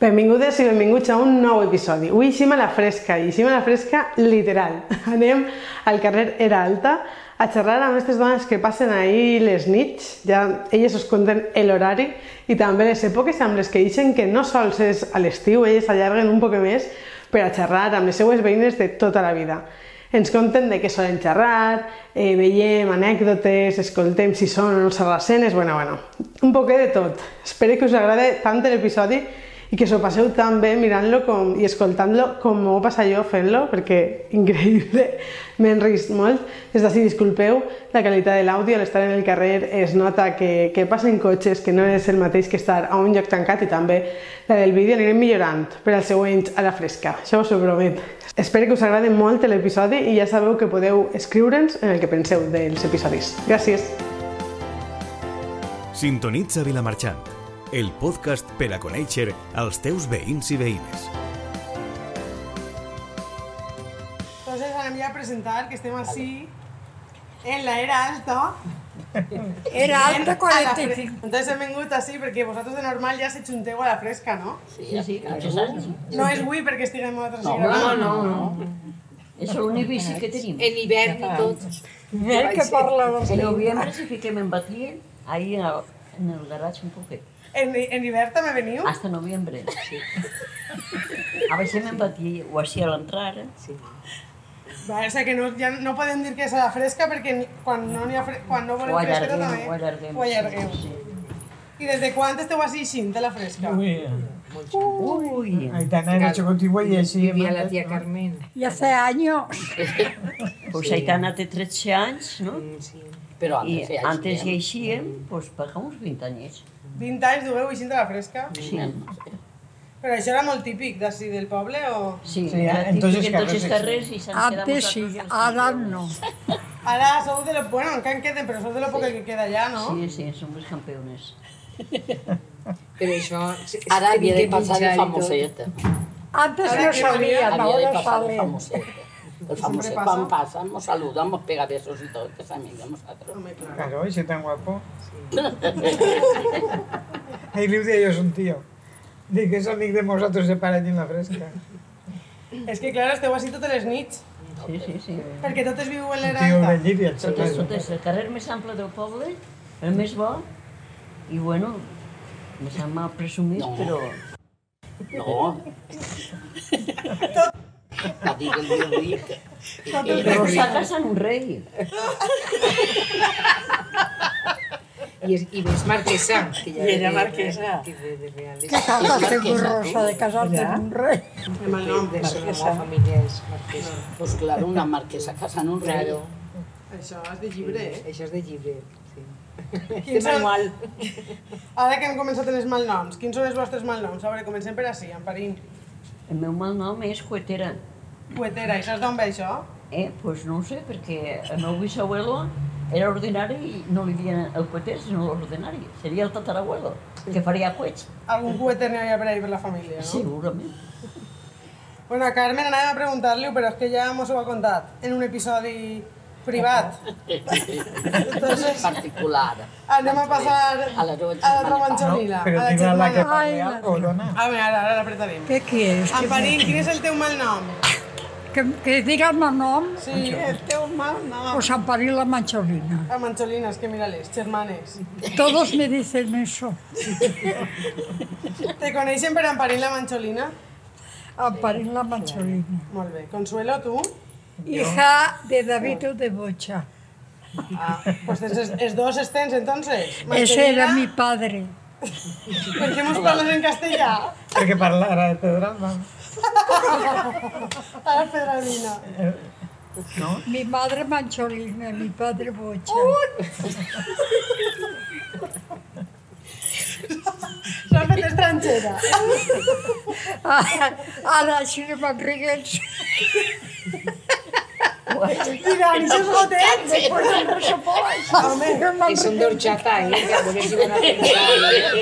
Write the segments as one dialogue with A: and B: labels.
A: Benvingudes i benvinguts a un nou episodi. Avui sim a la fresca, i sim a la fresca literal. Anem al carrer Era Alta a xerrar amb aquestes dones que passen ahir les nits, ja elles us conten l'horari i també les èpoques amb les que deixen que no sols és a l'estiu, elles allarguen un poc més per a xerrar amb les seues veïnes de tota la vida. Ens conten de què solen xerrar, eh, veiem anècdotes, escoltem si són o no sarracenes, bueno, bueno, un poquet de tot. Espero que us agrade tant l'episodi i que s'ho passeu tan bé mirant-lo com, i escoltant-lo com m'ho passa jo fent-lo, perquè increïble, m'he rist molt. Des d'ací, disculpeu la qualitat de l'àudio, l'estar en el carrer es nota que, que passen cotxes, que no és el mateix que estar a un lloc tancat i també la del vídeo anirem millorant per als següents a la fresca, això us ho promet. Espero que us agradi molt l'episodi i ja sabeu que podeu escriure'ns en el que penseu dels episodis. Gràcies!
B: Sintonitza Vilamarxant, el podcast per a conèixer els teus veïns i veïnes.
A: Entonces ahora me voy a presentar que estemos así en la era alta.
C: Era
A: en- a
C: alta
A: la
C: 45.
A: fre- Entonces he vingut así perquè vosaltres de normal ja se xunteu a la fresca, no?
D: Sí, sí, claro.
A: No és avui perquè estiguem nosaltres no,
D: No, no, no. És l'únic bici que tenim.
E: En hivern i tot.
C: Mira que parla de...
D: En novembre si fiquem en Batlien, ahí en el, en el garatge un poquet.
A: En, en hivern també veniu?
D: Hasta novembre, sí. A baixem en Batlien, o així a l'entrada. Sí.
A: Va, o sea que no, ja no podem dir que és a la fresca perquè ni- quan no, n'hi ha fre quan no volem
D: Ho
A: fresca
D: allarguem,
A: també
D: ho allarguem.
A: ho allargueu. I des de quan esteu així ixint de la fresca?
D: Ui,
F: Aitana era chocotigua y así.
E: Vivia la tia Carmen.
C: Y hace años.
D: pues Aitana té 13 anys, no?
G: Pero
D: I
G: antes, ya
D: antes ja
G: existían.
D: eixíem, pues pagamos 20 anyets.
A: 20 anys dugueu ixint de la fresca?
D: Sí,
A: Però això era molt típic d'ací del poble o...?
D: sí.
F: Sí,
D: era
F: en tots els
D: típic en tots els
F: carrers,
D: carrers i s'han quedat
C: Antes sí,
D: nosaltres les
C: ahora
D: campeones.
C: no.
A: Ara sou de lo... Bueno, encara en queden, però sou de lo poc que queda ja, no?
D: Sí, sí, som les campeones.
E: Però això... sí,
G: Ahora
E: tenim
G: había de
E: que
G: pasar
E: menjar i
G: el
E: tot.
G: famosete.
C: Antes
A: Ahora
C: no
A: que no había,
C: sabían,
G: Había de
C: ahora
G: pasar el
C: saben.
G: famosete. El famosete.
A: pasa.
G: Pan pasamos, saludamos, pega besos y todo, que es amigo de nosotros.
A: Home, clar.
F: Claro, ese tan guapo. Ahí Liudia yo es un tío. Dic que és amic de nosaltres de para allí en la fresca.
A: És que, clar, esteu així totes les nits,
D: Sí, sí, sí.
A: perquè totes viu en
F: Un tío
A: l'era
F: de
A: alta.
F: Llíria,
D: Sí, és,
F: xato.
D: és el carrer més ample del poble, el més bo, i bueno, més s'han mal presumit,
G: No.
D: però...
G: No. La diga el día rica.
D: Però s'ha casat un rei.
E: I, és, I més marquesa. Que ja eh?
G: I era
E: de-
G: marquesa.
E: que De, de real,
C: Que casaste con Rosa, de casarte con un rey.
A: Amb el nom.
E: de la família és marquesa.
G: Pues claro, una marquesa casa en un rey.
E: Claro.
A: Això és de llibre, eh?
E: Això és de llibre. Sí.
A: Quins són,
G: Manual.
A: ara que hem començat els malnoms, quins són els vostres malnoms? A veure, comencem per així, en Parín.
D: El meu mal nom és Cuetera.
A: Cuetera, i saps d'on ve això?
D: Eh, doncs pues no ho sé, perquè el meu bisabuelo era ordinari i no li deien el cueter, sinó l'ordinari. Seria el tatarabuelo, que faria cuets,
A: Algun cueter n'hi havia per ahí per la família, no?
D: segurament.
A: Bueno, a Carmen anàvem a preguntar-li, però és que ja mos ho ha contat en un episodi privat. Entonces,
G: Particular.
A: anem a passar
G: A les ocho.
A: a l'altra manxonila, a
F: Pero
A: la
F: tiene la que
A: germana.
F: parlea, corona.
A: A veure, ara, ara l'apretarem.
C: ¿Qué quieres?
A: En Parín, quin és el teu malnom?
C: Que, que digan el nom
A: Sí, el teu malnom.
C: o San París la Mancholina.
A: A manxolines, que mira-les, germanes.
C: Todos me dicen eso.
A: Te coneixen per en Parín la manxolina?
C: San París la Mancholina.
A: Molt bé. Consuelo, tu?
C: Hija de David de Bocha.
A: Ah, pues tens els, els dos estens, entonces.
C: Ese era mi
A: Mantenida.
C: padre.
A: Per què mos parles en castellà?
F: Perquè parlara de pedras, va.
A: A la Pedralina.
C: Mi madre Mancholina, mi padre Bocha.
A: ¡Uh! S'ha fet estrangera.
C: Ara sí que me'n rigues.
A: Diran, això és gotet. Home,
E: I són d'orxata, eh? Que a veure si van a pensar.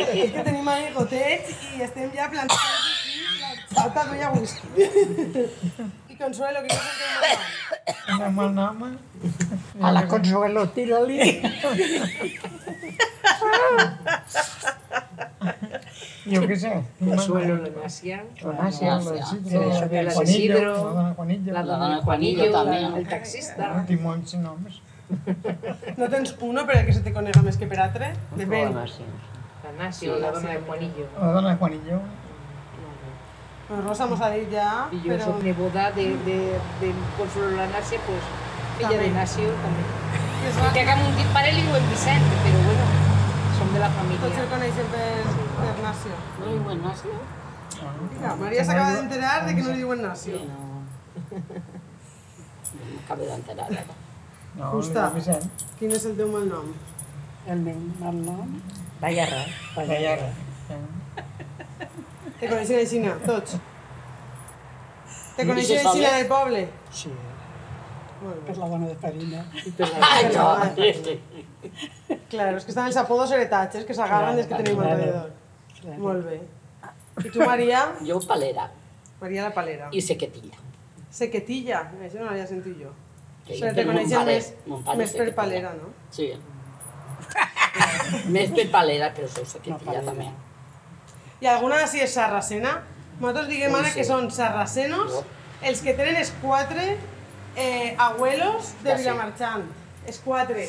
A: és que tenim ahí gotet i estem ja plantant Salta, no hi ha whisky. I Consuelo, que no sé què m'agrada.
F: Una mal nom.
C: A la Consuelo, tira-li.
F: Yo qué sé. pues
E: Consuelo Lemasia,
F: Tomasia,
G: Tomasia.
E: Sí, la de Isidro,
F: Juanillo, Juanillo,
E: la
F: la
E: dona
G: dona
E: Juanillo,
G: Juanillo
E: la-
G: també.
E: el taxista.
F: Timón sin homes.
H: No tens uno per a que se te conega més que per altre? Depèn.
D: Problemes, sí.
E: La Nacio, la dona de Juanillo.
F: La dona Juanillo.
H: Pues Rosa mos ha dit ja,
E: Y yo
H: però...
E: soy neboda de, de, de Consuelo la Nacio, pues ella de
H: También.
E: Nacio también. Que hagamos un kit para él y buen Vicente, pero bueno, son de la
H: Tots el
E: familia.
H: coneixen per, per Nacio.
G: No hi diuen nazi?
H: Mira, Maria s'acaba d'enterar de que no li diuen Nacio.
G: No. No M'acabo d'enterar ara.
F: No,
H: Justa.
F: Justa. Vicent.
H: Quin és el teu malnom?
I: El meu malnom? Ballarra.
F: La Yara.
H: Te coneixen aixina, tots. Te
G: I
H: coneixen
G: se sabe?
H: aixina del poble?
I: Sí,
H: Molt bé.
I: per la bona de Farina.
G: Ai, no!
H: Claro, és que estan els apodos heretatges que s'agarren des que tenim
I: claro.
H: alrededor.
I: Claro.
H: Molt bé. I tu, Maria?
G: Jo palera
H: Maria la Palera.
G: i sequetilla.
H: Sequetilla, això no l'havia sentit jo.
G: Que
H: O sigui, te
G: per mon
H: coneixen
G: pare-
H: més,
G: mon pare
H: més per
G: sequetilla.
H: Palera, no?
G: Sí. més per palera, però sou sequetilla
I: palera.
G: també.
H: I alguna d'ací és sarracena. Nosaltres diguem
G: No
H: ara
G: sé.
H: que són sarracenos
G: No.
H: els que tenen els quatre eh, abuelos de
G: Ja sé.
H: Vilamarxant. Els quatre.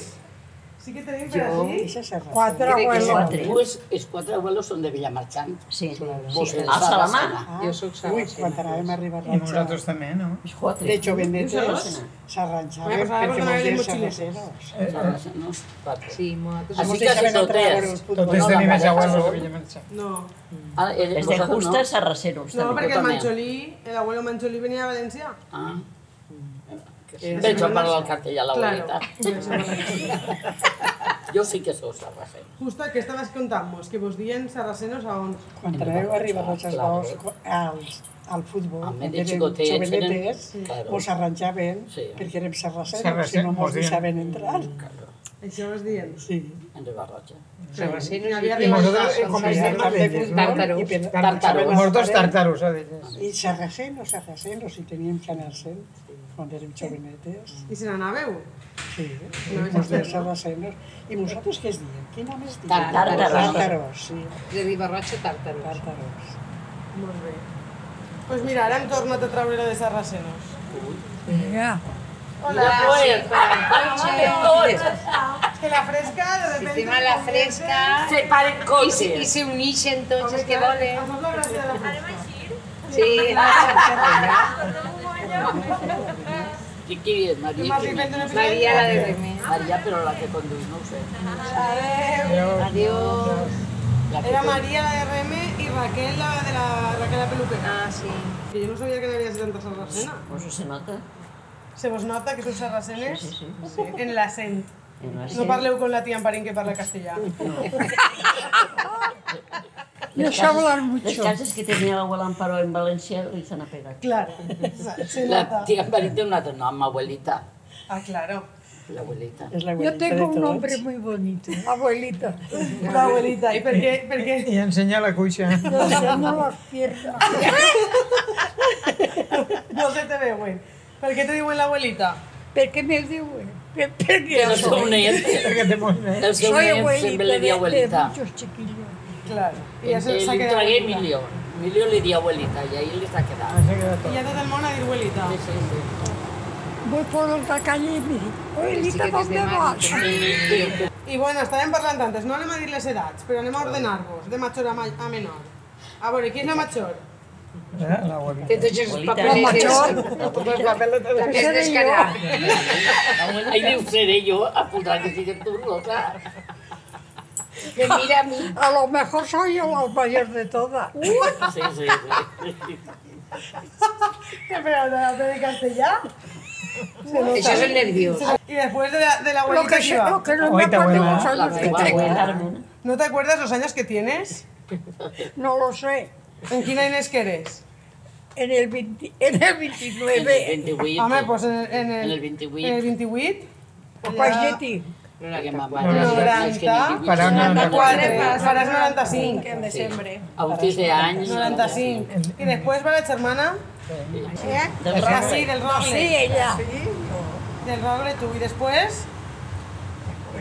H: Sí que tenim per
I: Jo,
H: aquí.
I: eixa serra.
F: Quatre abuelos.
D: Quatre.
G: Dues, els quatre abuelos són de Villamarchant.
D: Sí,
G: Vos
D: sí.
G: ets
D: A Salamà.
G: Sarracena.
E: Yo soy pues.
I: Ui,
E: sarracena.
I: quan anàvem a
F: I
I: Ribarratxa,
F: nosaltres també, no?
D: És quatre.
I: de jovenetes,
D: Sarracena.
H: Bueno,
I: s'arranjaven
H: pues ara
I: per fer
H: tornaré de
I: molts
H: mochileros.
I: sarraceros.
F: Eh, eh,
G: Sarracena, quatre.
E: Sí, nosotros
G: Así
E: somos
G: que
E: de
G: haces
I: Deixaven entrar a veure el
G: totes.
I: futbol.
F: Totes
G: No,
F: tenim
G: la
F: els
G: Yara
F: abuelos de
G: no.
F: Villamarxa.
H: No,
G: Ah, eh,
D: Els de
G: vosaltres
D: Justa, Sarraceros,
H: no
D: també.
H: perquè el
G: també.
H: Mancholí, l'abuelo Mancholí venia de València.
G: Ah. Veig a parlar el cartellà, la veritat. Jo sí que sou sarracena.
H: Justo que estaves contant-nos, que vos diuen sarracenos a on?
I: Quan anàvem a Ribarratxa dos als, al futbol,
G: Amb
I: quan
G: de
I: érem
G: xicotets, eren-
I: jovenetes,
G: Claro.
I: mos arranjaven
G: Sí.
I: perquè érem sarraceros,
F: Sarracenos,
I: si no mos
F: mos deien.
I: deixaven entrar.
G: Claro,
H: Això vos diuen.
I: Sí.
G: en Ribarroja.
E: sarracenos
H: Hi havia
E: y-
F: I vosaltres,
H: Sarracenos,
F: eh, com
E: sí,
F: estem
E: Sarracenos,
F: de ells, no?
E: tàrtaros.
F: I per-
G: Tàrtaros.
F: tàrtaros. Vosaltres tàrtaros, a d'elles.
I: I sarracenos, sarracenos, i teníem que anar-se'n quan érem jovenetes.
H: I se n'anàveu?
I: Sí,
H: No,
I: no,
H: és
I: mos deien
H: cert, no?
I: sarracenos. I vosaltres què es diem? Quin nom es diem?
G: Tàrtaros.
I: Tàrtaros, sí,
E: de Ribarrocha tártaros.
I: tàrtaros.
H: Molt bé. Doncs pues mira, ara hem tornat a treure lo de sarracenos.
J: Ja.
E: Gracias,
H: És que la fresca, de repente...
E: Encima la fresca.
G: Se paren
E: Y se, y se unixen entonces, que vole.
H: Hacemos la gràcia de la fresca.
E: Sí, la
G: Qui qui és, Maria?
H: M'has
G: Qui-
H: dit una
E: María la de Remé.
G: Maria, però la que conduís, no ho sé.
E: Adiós.
G: La que
H: Era
G: conduís.
H: María la de Reme y Raquel la de la Raquel la peluquera.
E: Ah, sí.
H: Que yo no sabía que había tanta sarracena.
D: Pues se nota.
H: Se vos nota que son sarracenes
D: Sí, sí,
H: en la sen.
D: I no és-
H: No parleu con la tía Amparín que parla castellà.
J: No sé hablar mucho.
D: Les cases que tenia l'abuela Amparo en València li s'han apegat.
H: Claro, se
G: La
H: nota.
G: tia Maria té un altre nom, abuelita.
H: Ah, claro.
G: L'abuelita.
I: És la
J: Yo
I: abuelita de
J: tengo un
I: tots.
J: nombre muy bonito, abuelita.
H: La abuelita, ¿y por qué? Por qué?
F: I ensenya la cuixa.
J: Enseño las piernas.
H: No se te ve, güey. ¿Por qué te digo la abuelita?
J: ¿Por qué me digo? ¿Por
G: El
J: qué
G: seu net,
F: Que té molt bé.
G: el seu
J: Soy
G: net
J: abuelita
G: sempre li diu
J: de, de
G: abuelita.
J: muchos chiquillos.
H: Claro. I ja
G: Ell
H: se s'ha
G: li
H: quedat.
G: tragué
H: abuelita.
G: Emilio. Emilio li diu abuelita i ahir li s'ha quedat.
F: Això queda
H: I
F: tot.
H: ja tot el món a dir abuelita.
G: Sí, sí, sí.
J: Voy por otra calle y me dicen, abuelita, ¿dónde vas?
H: I bueno, estàvem parlant antes, no anem a dir les edats, però anem a ordenar-vos, de major a, ma a menor. A veure, qui és la major?
F: Eh, la abuelita.
E: De tots els
J: La
E: papelets.
J: mayor,
E: També és descarat.
G: Ai, diu, seré jo, a posar que sigui tu, no, clar.
E: Me mira a mi.
J: a lo mejor soy yo la mayor de todas.
G: Sí, sí, sí.
H: Però de, de castellà?
E: Això és el nerviós.
H: I després de la, de
J: Lo
H: la abuelita
J: que,
H: que
J: sé- lo
H: va.
J: que no me
F: Ahorita
J: acuerdo
F: vuelve,
J: los
G: La
J: años que
G: meva
J: tengo.
G: abuela.
H: ¿No te acuerdas los años que tienes?
J: No lo sé.
H: ¿En quin any és que eres?
J: En el, 20 en el
G: En
J: 29,
G: el 28.
H: Home, doncs en, el- en,
G: En
H: el,
G: el 28.
H: En el 28?
J: pues de ti.
G: Perquè ma
F: No,
G: mare... és que ni divuit,
F: Para
G: ni
F: una-
H: 94, faràs 95.
K: en desembre.
G: A 15 anys...
H: 95. I després va la germana?
D: Del
H: Ah,
D: Roure.
H: sí, del Rogle.
J: Sí, ella.
H: Del Rogle, tu. I després?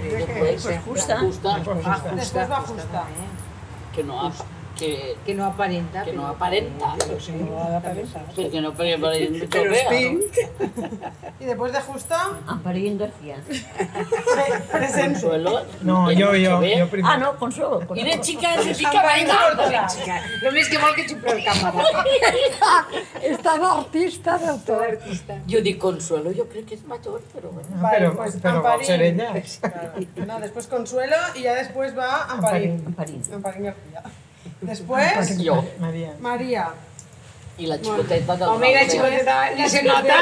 G: Després,
D: Justa.
G: Justa,
H: Després va Justa.
G: que no ha... que,
E: Que no aparenta.
G: que no
E: pero-
G: aparenta.
A: Pero si no va a aparentar.
G: Pero que no parece parece mucho
F: Pero es
G: fea, ¿no?
F: pink.
H: Y después de justo,
D: Amparo García.
H: presente.
G: Consuelo,
F: No,
G: que
F: yo,
G: mucho
F: yo,
G: fea.
F: jo primer.
D: Ah, no, Consuelo.
E: I
D: Consuelo.
E: una xica se fica bailando, xica. Només que vol que xupi el càmera.
J: És tan artista de tot.
E: Tot artista.
G: Yo di Consuelo, yo creo que es mayor, pero bueno.
H: Ah,
F: No, però, però vol ser ella.
H: pues No, después Consuelo y ya después va Amparín.
D: Amparín.
H: Amparín García. Después,
G: Yo.
F: Maria.
H: María.
G: Y la chicoteta del
E: Home, la
G: Rafael.
E: xicoteta li se nota.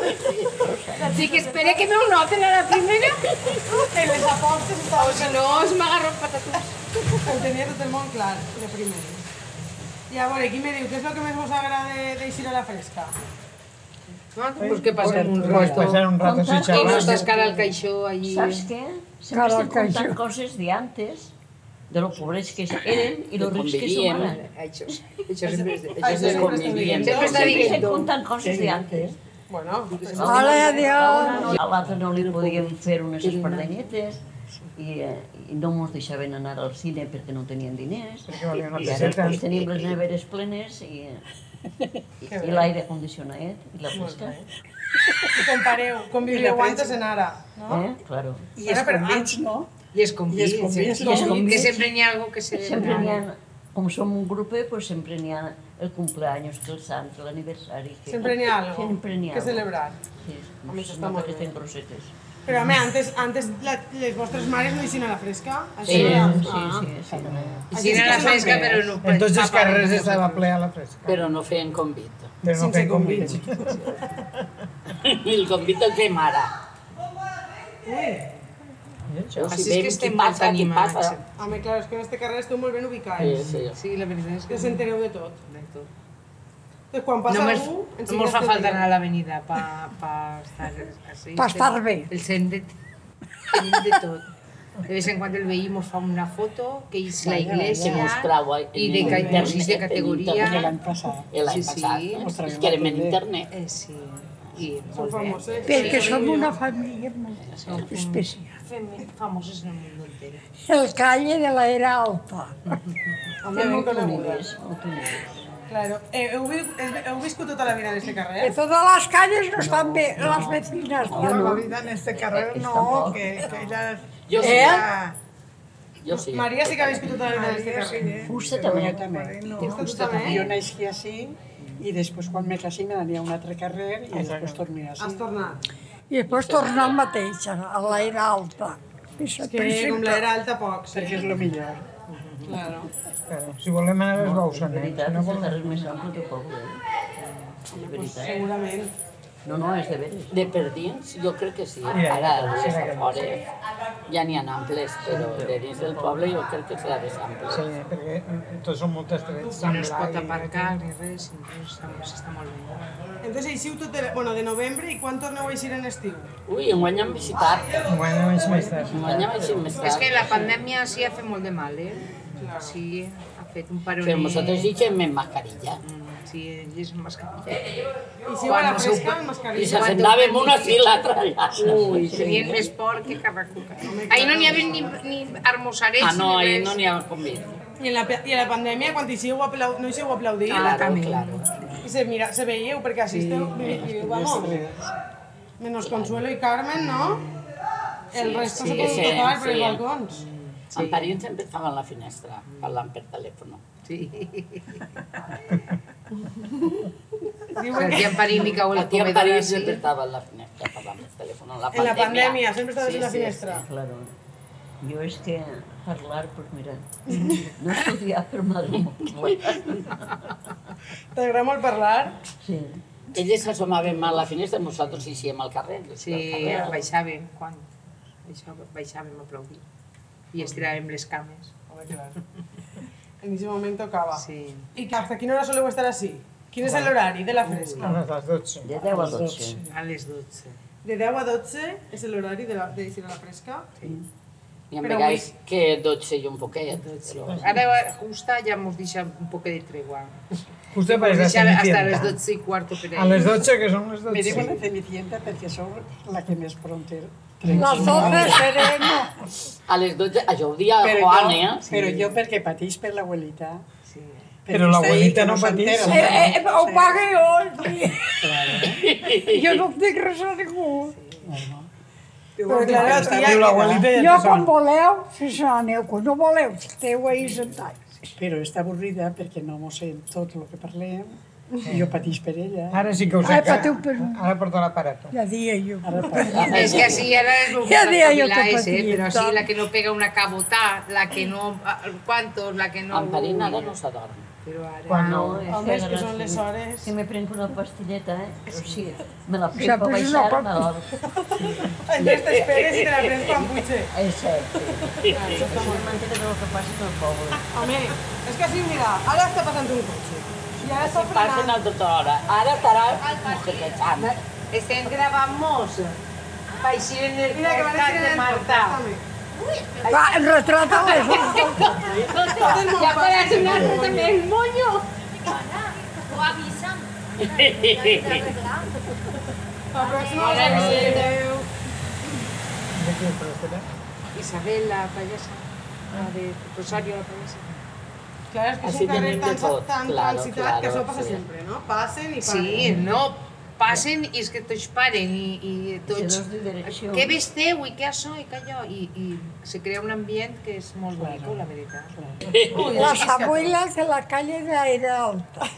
E: li se- Sí que espera que no ho noten a la primera.
H: En les apostes
E: O
H: estava
E: si no, es m'agarro patatús.
H: Ho tenia tot el món clar, de primer. I a veure, qui me diu, què és el que més vos agrada d'eixir a la fresca?
E: No, pues que passem un
F: Pues
E: rato.
F: passar un rato així
E: I no
F: xerrant.
E: estàs cara al caixó allí.
D: ¿Sabes qué? Siempre
J: Claro,
D: están contando
J: cayó.
D: cosas de antes, de los pobres que eran y
G: De
D: los ricos que
G: convivían.
D: son ahora.
E: Això, això sempre és de...
H: Això
E: Això és
H: sempre està
E: de...
G: Conviviendo.
H: dient.
E: Siempre está
D: Siempre se
E: diciendo.
D: contan cosas de antes.
H: Bueno, pues,
J: Vale,
D: A
J: adiós.
D: una no- a l'altra no li podíem fer unes espardenyetes i, eh, i no ens deixaven anar al cine perquè no tenien diners.
F: Perquè valia una
D: I ara
F: peseta.
D: doncs, tenim les neveres plenes i, i, i l'aire condicionat i la fresca.
H: i compareu, conviviu antes en ara, ah, no?
D: Eh? Claro.
A: I es convins, no?
E: I es convida.
A: I es convida,
E: sí. Que sempre n'hi ha algo que se...
D: Sempre n'hi ha, com som un grupe, pues sempre n'hi ha el cumpleaños, que el sant, que l'aniversari. Que...
H: Sempre n'hi ha algo
D: Sempre n'hi ha
H: que
D: algo.
H: celebrar.
D: Sí,
H: Home, això
D: sí,
H: està
D: no
H: molt
D: perquè
H: bé.
D: estem grossetes.
H: Però, home, antes, antes la, les vostres mares no eixien a la fresca?
D: Sí, sí,
H: era-
D: sí. sí,
E: Sí, era la fresca, però no...
F: En tots els
E: papa,
F: carrers
E: no
F: estava
E: papa.
F: ple a la fresca.
G: Pero no feien convit.
F: Però no
H: Sense
F: fent
H: convit.
F: convits.
G: I el convit el fem ara.
F: Això.
E: Així
G: veiem
E: és que este estem
G: qui
E: molt
G: passa, qui
E: animats.
G: passa.
H: Home, clar, és que en este carrer esteu molt ben
G: Sí,
H: ubicats.
G: sí.
E: Sí, la veritat és
H: Que
E: que...
H: us entereu de tot.
E: De tot.
H: Entonces, quan passa
E: No mos,
H: algú...
E: no mos fa falta anar a l'avenida pa, pa estar així.
J: Pa estar bé.
E: El cent de, tenim de tot. De vez en cuando el veí mos fa una foto que és la
G: Que
E: iglesia
G: mos trau en
E: i de, ca-
G: internet,
E: d'arxives de
G: en
A: I
E: categoria.
G: internet.
A: l'any passat.
G: El any
E: Sí, sí.
G: passat. eh?
A: Mos traiem
G: És que érem en
A: el
G: internet.
E: Eh, sí. I
H: Són
E: molt bé.
H: famosos.
J: Perquè som una família molt especial.
E: Fem famoses en el món entero.
J: El calle de la era alta.
H: Home, ben conegudes.
D: sí.
H: Claro. Eh, heu, vi heu viscut tota la vida en este carrer? Ah,
J: Que Eh, totes les calles no estan bé, les vecines.
F: La
J: no.
F: vida en este carrer no,
D: Tampoc.
F: que, que ella...
G: Jo sí.
F: Eh?
G: Jo sí.
H: María sí que ha viscut tota la vida en este carrer. tota
D: Fusta també.
A: Jo també.
H: Justa
A: Jo
H: també.
A: naixia així i després quan me casé me n'anava a un altre carrer i després tornava
H: Has
A: així.
H: tornat.
J: I després tornar al mateix, a la era alta. És el
H: Que com
J: principi.
H: l'era alta poc, sí.
A: Perquè és el millor.
H: Claro.
F: Però, si volem anar a les
D: De
F: Bausanets,
D: veritat,
F: no
D: és el
F: volem...
D: carrer més ample del poble. eh? De veritat.
H: Segurament.
D: No, no, és de veres.
G: De perdins, jo crec que sí.
F: Mira,
G: Ara,
F: sí,
G: des de
F: sí.
G: fora, ja n'hi ha amples, però de dins del poble jo crec que serà més ample.
F: Sí, perquè eh, tots són molt estrets.
E: No es pot aparcar ni res, inclús està molt bé.
H: Entonces eixiu tot de, bueno, de novembre i quan torneu a eixir en estiu?
G: Ui, enguany hem visitat.
F: Bueno, és més tard.
G: Enguany hem eixit més
E: És que
G: tard.
E: la pandèmia sí ha fet molt de mal, eh? Sí, ha fet un paronet.
G: Que nosaltres deixem en mascarilla.
E: Mm, Sí, ell és mascarilla.
H: Eixiu a la fresca amb
G: I
H: mascarilla?
G: s'assentàvem una sí l'altra allà.
E: Ui, tenien més por que Carracuca. Ahir no n'hi havia ni, ni armosarets
G: Ah, no,
E: ni
G: ahir
E: res.
G: no n'hi ha convit.
H: I en la, pe- i en la pandèmia, quan eixiu, aplau, no eixiu a aplaudir?
G: Claro, claro.
H: I se, mira, se veieu, perquè així esteu, vi- viviu, vamos. Menos Consuelo i Carmen, no? El resto
G: sí,
H: se poden
G: sí,
H: tocar per
G: sí.
H: els balcons.
G: En París sempre estava a la finestra, parlant per telèfon.
E: Sí.
H: Diuen
E: Aquí
H: que
E: en París li cau el
G: Aquí en
E: comedor
G: París
E: així.
G: sempre estava a la finestra parlant per telèfon. En la
H: en la
G: pandèmia,
H: pandèmia sempre estaves
G: Sí,
H: en la
G: sí,
H: finestra.
D: Claro. Jo és que parlar, pues mira, no estudiar per m'agrada molt.
H: T'agrada molt parlar?
D: Sí.
G: Elles s'assomaven a la finestra i nosaltres eixíem al carrer.
E: Sí, baixàvem quan baixàvem, baixàvem a aplaudir. I estiràvem les cames.
H: Home, clar. En aquest moment tocava.
E: Sí.
H: I que hasta quina hora soleu estar així? Quin és l'horari de la fresca?
F: A les 12.
D: De 10 a 12.
E: A les 12.
H: De 10 a 12 és l'horari de la- de eixir a la fresca?
G: I en
H: Però
G: vegades que 12 i un poquet. Però...
E: Ara, justa, ja mos deixa un poc de tregua.
F: Vostè
E: Mos
F: pareix la
E: deixa hasta les
F: cenicienta.
E: 12 i cuarto per ahí.
F: A les 12, que són les
A: Me digo la
F: 12.
A: cenicienta perquè sóc la que més pronter
J: Les dones serem...
G: A les 12, això ho dia
L: Però
G: Joan, eh?
L: jo, però jo perquè patís per l'abuelita.
E: Sí.
F: Però l'abuelita no patís.
J: Eh, eh, ho paga jo, el dia. Jo no dic res a ningú.
F: Però clar, diu l'abuelita i
J: Jo,
F: ja te
J: quan
F: sol.
J: voleu, si se n'aneu, quan no voleu, esteu ahí sentats.
L: Però està avorrida perquè no mos sent tot el que parlem i jo patís per ella.
F: Ara sí que ho sé.
J: Ai,
F: que-
J: patiu per-
F: Ara porta l'aparato.
J: Ja dia jo.
L: Ara parla.
E: Es que así era lo
J: Ya de ahí otro
E: la ese,
J: pasillo,
E: pero así
J: tal.
E: la que no pega una cabotá, la que no cuántos, la que no.
G: En París nada no s'adorm.
E: Pero ahora-
F: Quan
D: Ah,
F: no.
D: No, és
H: Home, és que
D: ara
H: són les
D: sí.
H: hores.
D: Si me prenc una pastilleta, eh? O sigui, me la
J: Ja,
D: prenc
J: però
D: per
J: és una
D: baixar, me la...
F: Entonces t'esperes i te la prens quan puixes.
D: És cert. Eh, Sí. Això és una manera del que passa en el poble.
H: Home, és que sí, mira, ara està passant un cotxe. I ara està
G: Passen a tota hora. Ara estarà mujerejant.
E: Estén grabamos para ir en el podcast de Marta.
J: Va, retrata-me això.
E: este Ya para sonarnos también el moño.
M: O avisa'm. Arreglar.
E: Isabel la payasa, la de Rosario la payasa.
H: Clar, és que és
G: Així
H: un carrer
G: tenim
H: tan,
G: de tot,
H: tan
G: claro,
H: transitat
G: claro,
H: que això passa
G: sí.
H: sempre, no? Passen i passen.
E: Sí, no, passen i és que tots paren i, i tots...
D: dos de direcció.
E: Què vesteu i què això i què allò? I, I se crea un ambient que és molt bonic, la veritat.
J: Las abuelas de la calle de Aire Alta.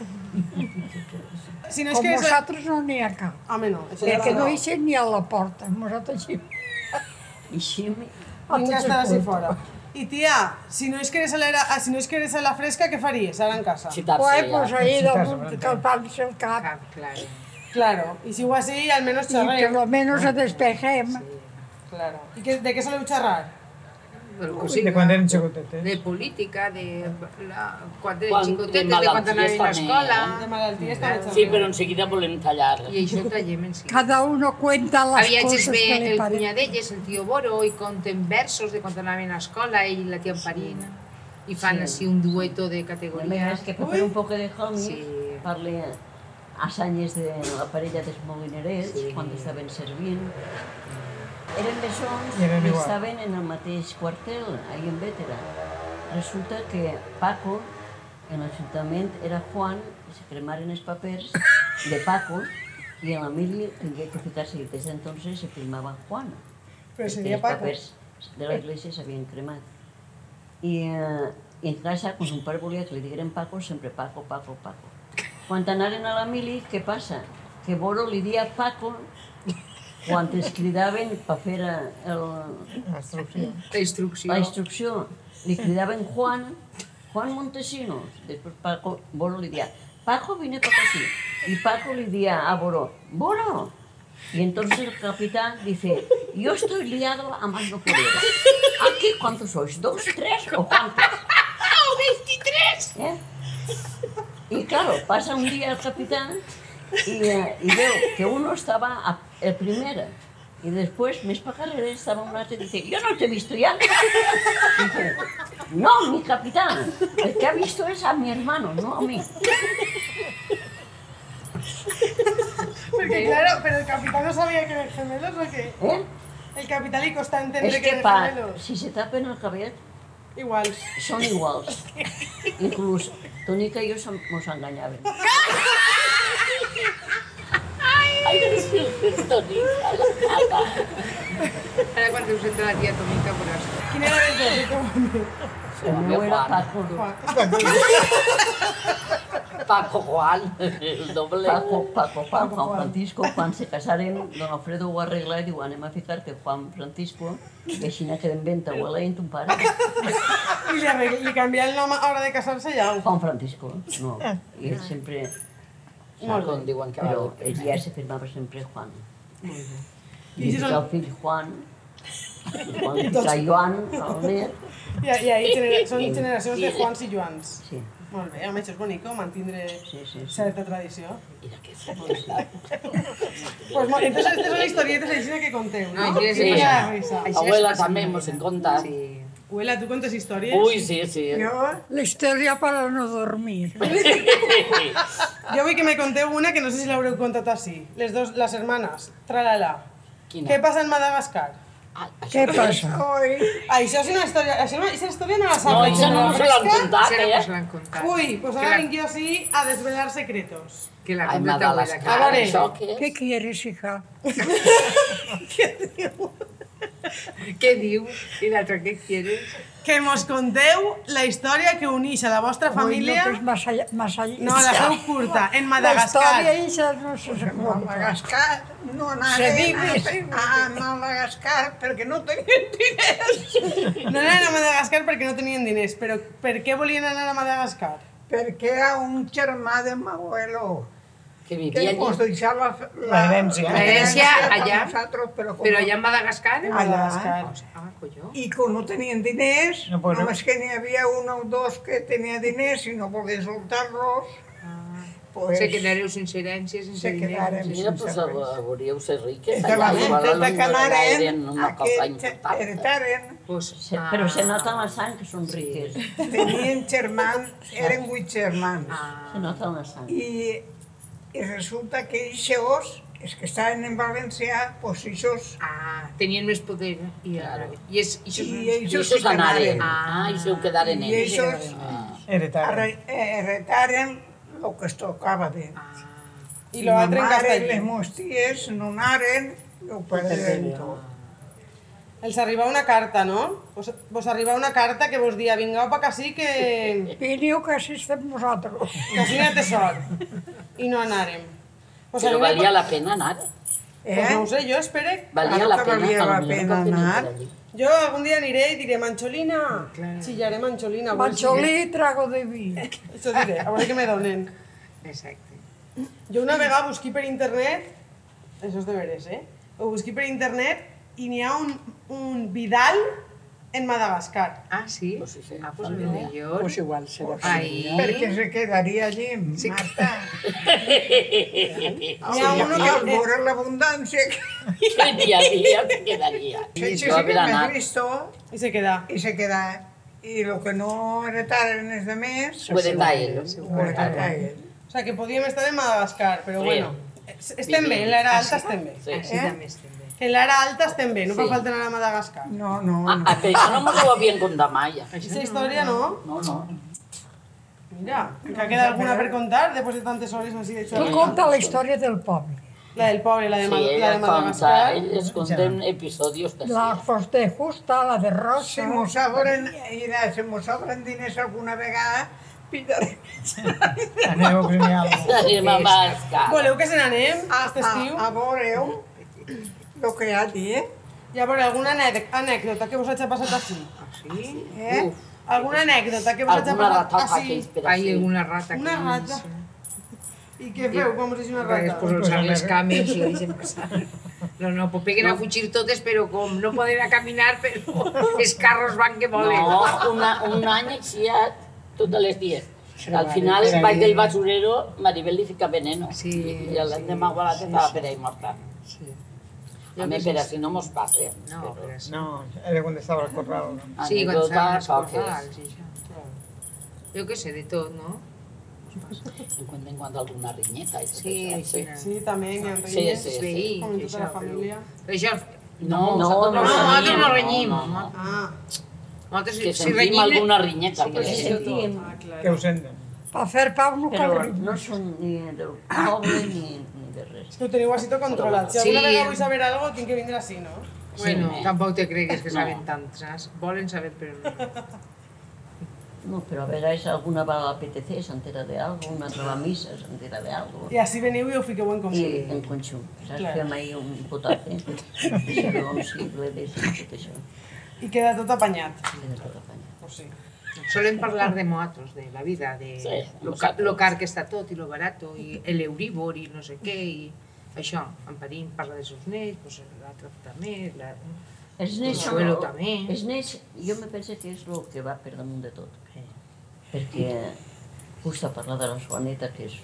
H: Si no és
J: Com
H: que... És...
J: vosaltres no n'hi ha cap.
H: Home, no. Això
J: Perquè no
H: hi...
J: eixen ni a la porta. Nosaltres sí.
D: I així...
H: Vinga, estar així fora. I tia, si no és que eres a la, ah, si no és que eres a la fresca, què faries ara en casa?
G: Xitar-se
J: Pues, pues
G: ja.
J: ahí damunt calpant-se el cap.
E: Cap, clar.
H: Claro. I si ho així, almenys
J: I per
H: xerrem.
J: lo menos se despejem.
H: Claro. I que, de què soleu xerrar?
E: Del
F: De
E: cosí,
F: quan eren xicotetes.
E: de política, de la, quan de
G: Quan-
E: xicotetes,
G: de
E: de quan anaven a
G: malalties
E: l'escola...
H: De malalties també xerrem.
G: Sí, però en seguida volem tallar.
E: I això traiem en si.
J: Cada uno cuenta las
E: Havia
J: cosas
E: gent
J: que
E: bé
J: le
E: el
J: parecen.
E: cunyadelles, el tio Boro, i conten versos de quan anaven a l'escola, ell i la tia Amparina, i fan així un dueto
D: A
E: de
D: vegades
E: categories.
D: que per fer un poc de homies,
E: Sí.
D: parle assanyes de la parella dels molinerets, quan estaven servint. Eren bessons
F: I eren
D: i
F: igual.
D: estaven en el mateix quartel, ahí en Vétera. Resulta que Paco, en l'Ajuntament, era Juan, i se cremaren els papers de Paco, i en la Mili tingué que ficar-se, i des d'entonces se cremava Juan.
H: Però
D: perquè
H: seria
D: els
H: Paco.
D: papers de l'església s'havien cremat. I, eh, I en casa, quan son pare volia que li digueren Paco, sempre Paco, Paco, Paco. Quan anaren a la mili, què passa? Que Boro li dia Paco quan es cridaven per fer eh, el,
F: Instrucció.
E: La instrucció.
D: la instrucció, li cridaven Juan, Juan Montesinos. Després Paco, Boro li dia, Paco vine per aquí. I Paco li dia a Boro, Boro! Y entonces el capitán dice, yo estoy liado a más no poder. ¿Aquí cuántos sois? ¿Dos, tres o cuántos? ¿Eh? ¡23! Y claro, pasa un día el capitán y, eh, y veo que uno estaba a, el primera y después mis pajarreros estaba un rato y dice, yo no te he visto ya. Dice, no, mi capitán, el que ha visto es a mi hermano, no a mí.
H: Perquè, claro, però el capità no sabia que eren gemelos o què?
D: ¿Eh?
H: El capità li costa
D: Es
H: entendre que
D: que
H: eren
D: pa,
H: gemelos.
D: si se tapen el cabello
H: Iguals.
D: son iguales. Incluso Tónica y yo som- nos engañaban.
G: Ai, que desfiltes, Toni.
E: Ara quan us entra la tia Tomica veuràs.
H: Quin era el dos?
D: El meu era Paco,
G: Paco Juan, el doble.
D: Paco, Paco, Juan, Juan Francisco, quan se casaren, don Alfredo ho arregla i diu, anem a ficar-te Juan Francisco, i així n'ha quedem ben taualent, ton pare.
H: I li, arregla, li canvia el nom a hora de casar-se ja.
D: Juan Francisco, no, i ell sempre,
G: Molt bé. Diuen que va
D: però
G: bé.
D: ell ja se firmava sempre Juan.
H: I
D: I
H: si
D: si
H: són-
D: el fill Juan, i quan fica Joan, el net,
H: I, i ahí genera, són generacions de Juans i Joans.
D: sí,
H: Molt bé, home, això és bonic, mantindre
D: sí, sí. sí.
H: certa tradició.
G: Mira que és.
H: Pues, mo- entonces, aquestes són historietes així que conteu, no?
E: No, així és
H: Sí.
G: així.
H: la risa.
E: Així
G: Abuela,
E: es passa
G: també
E: la
G: mos en
E: vida.
G: conta.
E: Sí.
H: Abuela, tu contes històries?
G: Ui, sí, sí.
J: La historia para no dormir.
H: Jo vull que me conteu una que no sé si l'haureu contat així. Les dos, les hermanes, tralala.
G: Quina?
H: Què passa en Madagascar?
J: Què passa?
F: Oi,
H: Ah, això és una història, això no, aquesta història no la sap.
G: No,
H: ningú,
G: això no
H: ¿no?
G: mos l'han
H: Fresca?
G: contat,
E: Se
G: eh?
E: nos lo han contado.
H: Uy, pues
E: Que
H: ahora
E: la-
H: ha venido así a desvelar secretos.
E: Que la
G: Ai,
E: cuenta
G: me
E: tu
G: da
E: abuela.
G: les
E: que-
G: cares, això què és?
J: Què quieres, hija?
E: Què diu? I l'altre, què quieres?
H: Que mos conteu la història que unís a la vostra família...
J: Ui, no, que és massa, lla- massa
H: No, la
J: llarg.
H: feu curta, en
J: La història
H: Madagascar.
J: eixa no se s'acorda.
F: Madagascar, no
J: Se
F: anàvem
J: vive, se
F: a, a Madagascar perquè no tenien diners.
H: No anaven a Madagascar perquè no tenien diners, però per què volien anar a Madagascar?
F: Perquè era un germà de m'abuelo
G: Que
F: que
G: vivia
F: ens
G: allà.
F: deixava la,
J: herència.
E: La herència
F: per
E: allà.
F: Nosaltres, però com
E: Però allà en Madagascar?
F: eh?
H: Madagascar.
E: Ah, colló.
F: I com no tenien diners,
J: No,
F: no,
J: pues no.
F: només que n'hi havia un o dos que tenia diners i no volia soltar-los, pues,
E: Se quedareu sense herència, sense
F: Se quedarem.
E: diners.
G: Mira, doncs eh, volíeu ser riques.
F: de la
G: allà,
F: gent
G: igual
F: de
G: no
F: Canaren,
G: eren
F: Ah,
G: una cosa
F: aquells
G: important.
F: heretaren,
E: Pues,
D: Se-
E: ah,
D: Però se nota en la sang que són riques.
F: tenien germans, eren vuit germans.
D: Se nota en la sang.
F: I, i resulta que ells, els que estaven en València, doncs ells,
E: Ah, tenien més poder. I, ara,
G: Claro.
E: i, és, i, això
F: i
E: és-
G: I
F: ells
G: això
F: sí que
G: s'anaren.
F: anaren.
G: Ah, i això ho quedaren
F: I
G: ells.
F: ells
G: Ah.
J: Heretari.
F: arre- heretaren el que es tocava d'ells. Ah.
H: I lo altre en
F: Ma mare,
H: castellà.
F: les meves ties no anaren, ho perderen tot.
H: Els arriba una carta, no? Vos, vos arriba una carta que vos dia vingueu pa que sí que,
J: Veniu que així estem nosaltres.
H: que així no té sort. I no anàrem.
F: pues,
H: Vos
G: Però
H: arriba-
G: valia la pena anar.
F: Eh?
H: Pues no ho sé, jo espere.
G: Valia
F: Claro
G: la
F: que
G: pena,
F: valia la
G: a lo millor,
F: pena
G: que tenir
F: anar.
G: per allí.
H: Jo algun dia aniré i diré
F: Ah,
H: Mancholina. Chillaré Mancholina. a veure si-
J: Mancholí, trago de vi.
H: Això diré, a veure què me donen.
E: Exacte.
H: Jo una vegada busqué per internet, això és de veres, eh? Ho busqué per internet i n'hi ha un, un Vidal en Madagascar.
E: Ah, sí?
G: Pues sí, sí.
E: Ah, pues mira, jo...
N: Pues igual será.
E: Ahí.
F: Perquè se quedaria allí, Marta.
H: N'hi ha uno
F: I al
H: que...
F: veure l'abundància que
G: Que n'hi havia, se quedaria.
F: Sí, sí, sí,
G: Jo
F: que
G: haver
F: m'he
G: anat.
F: vist
H: I se queda.
F: i se quedà. I el que no heretaren els de més,
G: Ho he de dar ell.
F: ho heretaren.
H: O sigui, que podíem estar en Madagascar, però
G: Sí.
H: bueno. es- Estem bé, en l'era alta estem bé.
G: Sí.
E: Així també estem bé.
H: En l'era alta estem bé, no fa
G: Sí.
H: falta anar a Madagascar.
F: No, no,
G: Ah,
F: no.
G: ah, però això no mos ho havien contat mai. ja.
H: Aquesta història no.
G: No, no.
H: Mira, que queda alguna per contar després de tantes hores així de
J: Tu
H: xorra.
J: conta la història del poble.
H: La del pobre, la de,
G: Sí,
H: Ma- la
G: ella
H: de
G: conta,
H: Madagascar.
G: ell es contem episodis de
J: La de justa, la de
F: Si
J: rosa...
F: mos obren, mira, si mos obren diners alguna vegada, pillarem
J: Aneu a primer algo.
G: sí. Mamà, escala.
H: Voleu que se n'anem
F: a,
H: aquest estiu?
F: a, a veure el que hi ha allí, eh?
H: Hi ha veure, alguna anèc- anècdota que vos hagi passat així?
F: eh?
G: Uf,
H: Alguna anècdota que vos hagi
G: alguna
H: passat
G: ratata que
H: així?
G: espera.
E: Hay alguna rata.
H: Ah, Una
E: que-
H: rata.
E: sí.
H: I què feu quan vos és una rata?
E: Pues usar les cames y lo dicen pasar. No, no, pues peguen a fuchir totes, pero con no poder a caminar, pero els carros van que volen.
G: No, una, un any així a totes les dies. Al final, vaig del basurero, Maribel li fica veneno.
E: Sí,
G: I l'endemà sí, guardat estava per ahí morta. A mi, però si no mos passa. eh.
E: No, però sí.
J: No, era quan estava el corral.
E: Sí, quan
G: Anècdota,
E: estaven
G: poques.
E: escorralats i això. Jo què sé, de tot, no?
G: En quan en quan alguna rinyeta. i tot
E: Sí,
G: això,
E: sí.
H: Sí, també, n'hi ha
G: Sí,
H: renyes.
G: sí,
E: Els
G: sí.
E: veïns,
H: Com en tota
E: això,
H: la família.
E: Però això,
G: No, no, no,
E: no, nosaltres no renyim.
G: no, no.
H: Ah,
E: nosaltres
G: Que
E: si
G: sentim
E: renyim...
G: alguna rinyeta.
E: Sí,
G: que
E: sí,
G: sí.
D: Sentim,
H: ah,
J: Que ho senten.
F: Per fer pau no
D: però no són ni del poble ni, ni de res.
H: és que ho teniu així tot controlat. Si
E: Sí.
H: alguna vegada vull saber alguna cosa, tinc que vindre així, no?
E: Bueno,
G: Sí.
E: tampoc te cregues que
G: No.
E: saben tant, saps? Volen saber, però no.
D: No, però a vegades alguna va a la PTC, s'entera d'algo, una altra va a missa, s'entera d'algo.
H: I així veniu i ho fiqueu en
D: I
H: comú.
D: en conxú, saps? Fem ahir un potate, però un cible de tot això.
H: I queda tot apanyat.
D: i de tot apanyat.
H: Pues sí.
E: Solen parlar de nosaltres, de la vida, de
G: Sí,
E: lo, ca
G: nosaltres.
E: lo car que està tot i lo barato i el euríbor i no sé què i això, en Perín parla de seus nets, pues l'altre també, la...
D: És neix,
E: Consuelo també.
D: És neix, jo me penso que és el que va per damunt de tot. Perquè just a parlar de la Suaneta, que és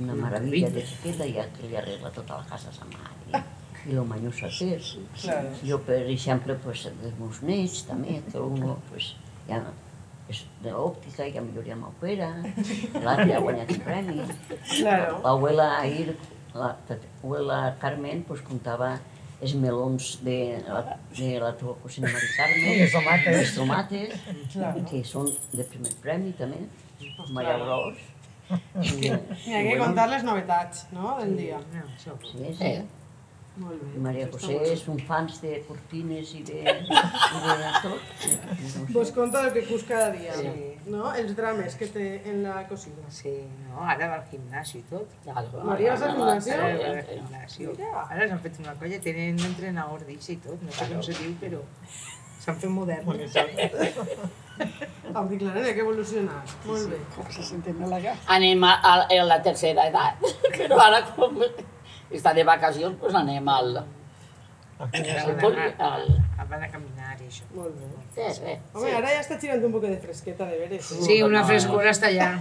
D: una meravella de xiqueta, ja que li arregla tota la casa a sa mare. I lo manyussa que és.
H: Claro.
D: Jo, per exemple, pues, dels meus nets també, que un pues, ja és d'òptica, ja milloria amb opera, l'altre ja ha guanyat un premi.
H: Claro.
D: L'abuela ahir, la, l'abuela Carmen, pues, contava els melons de la, de la teva cosina Mari Carme,
F: I les tomates.
D: les tomates,
F: Claro.
D: que són de primer premi també, Maria Gros. I,
H: Hi ha que contar les novetats, no?, del dia.
D: Sí, sí.
G: Eh,
H: Molt bé.
D: I Maria
H: això està
D: José
H: molt bé.
D: és un fans de cortines i de, i de tot.
H: Vos conta el que cus cada dia,
E: Sí.
H: no? Els drames que té en la cocina.
E: Sí, no? Ara va al gimnàs i tot.
H: Maria, vas al
G: Ah,
H: gimnàs?
G: eh,
E: Ara va al gimnàs. Ara s'han fet una colla, tenen un entrenador d'ixa i tot, no sé com se diu, però s'han fet moderns.
H: Em dic, la nena, que evolucionar. Molt bé.
J: Com se senten halagats.
G: Anem a, a, a la tercera edat, però ara com està de vacacions, doncs anem al... al, poli, al...
E: Van a caminar i això.
H: Molt bé.
G: Res, res.
H: Home, ara ja està girant un poc de fresqueta, de veres. eh?
E: Sí, una frescura està allà.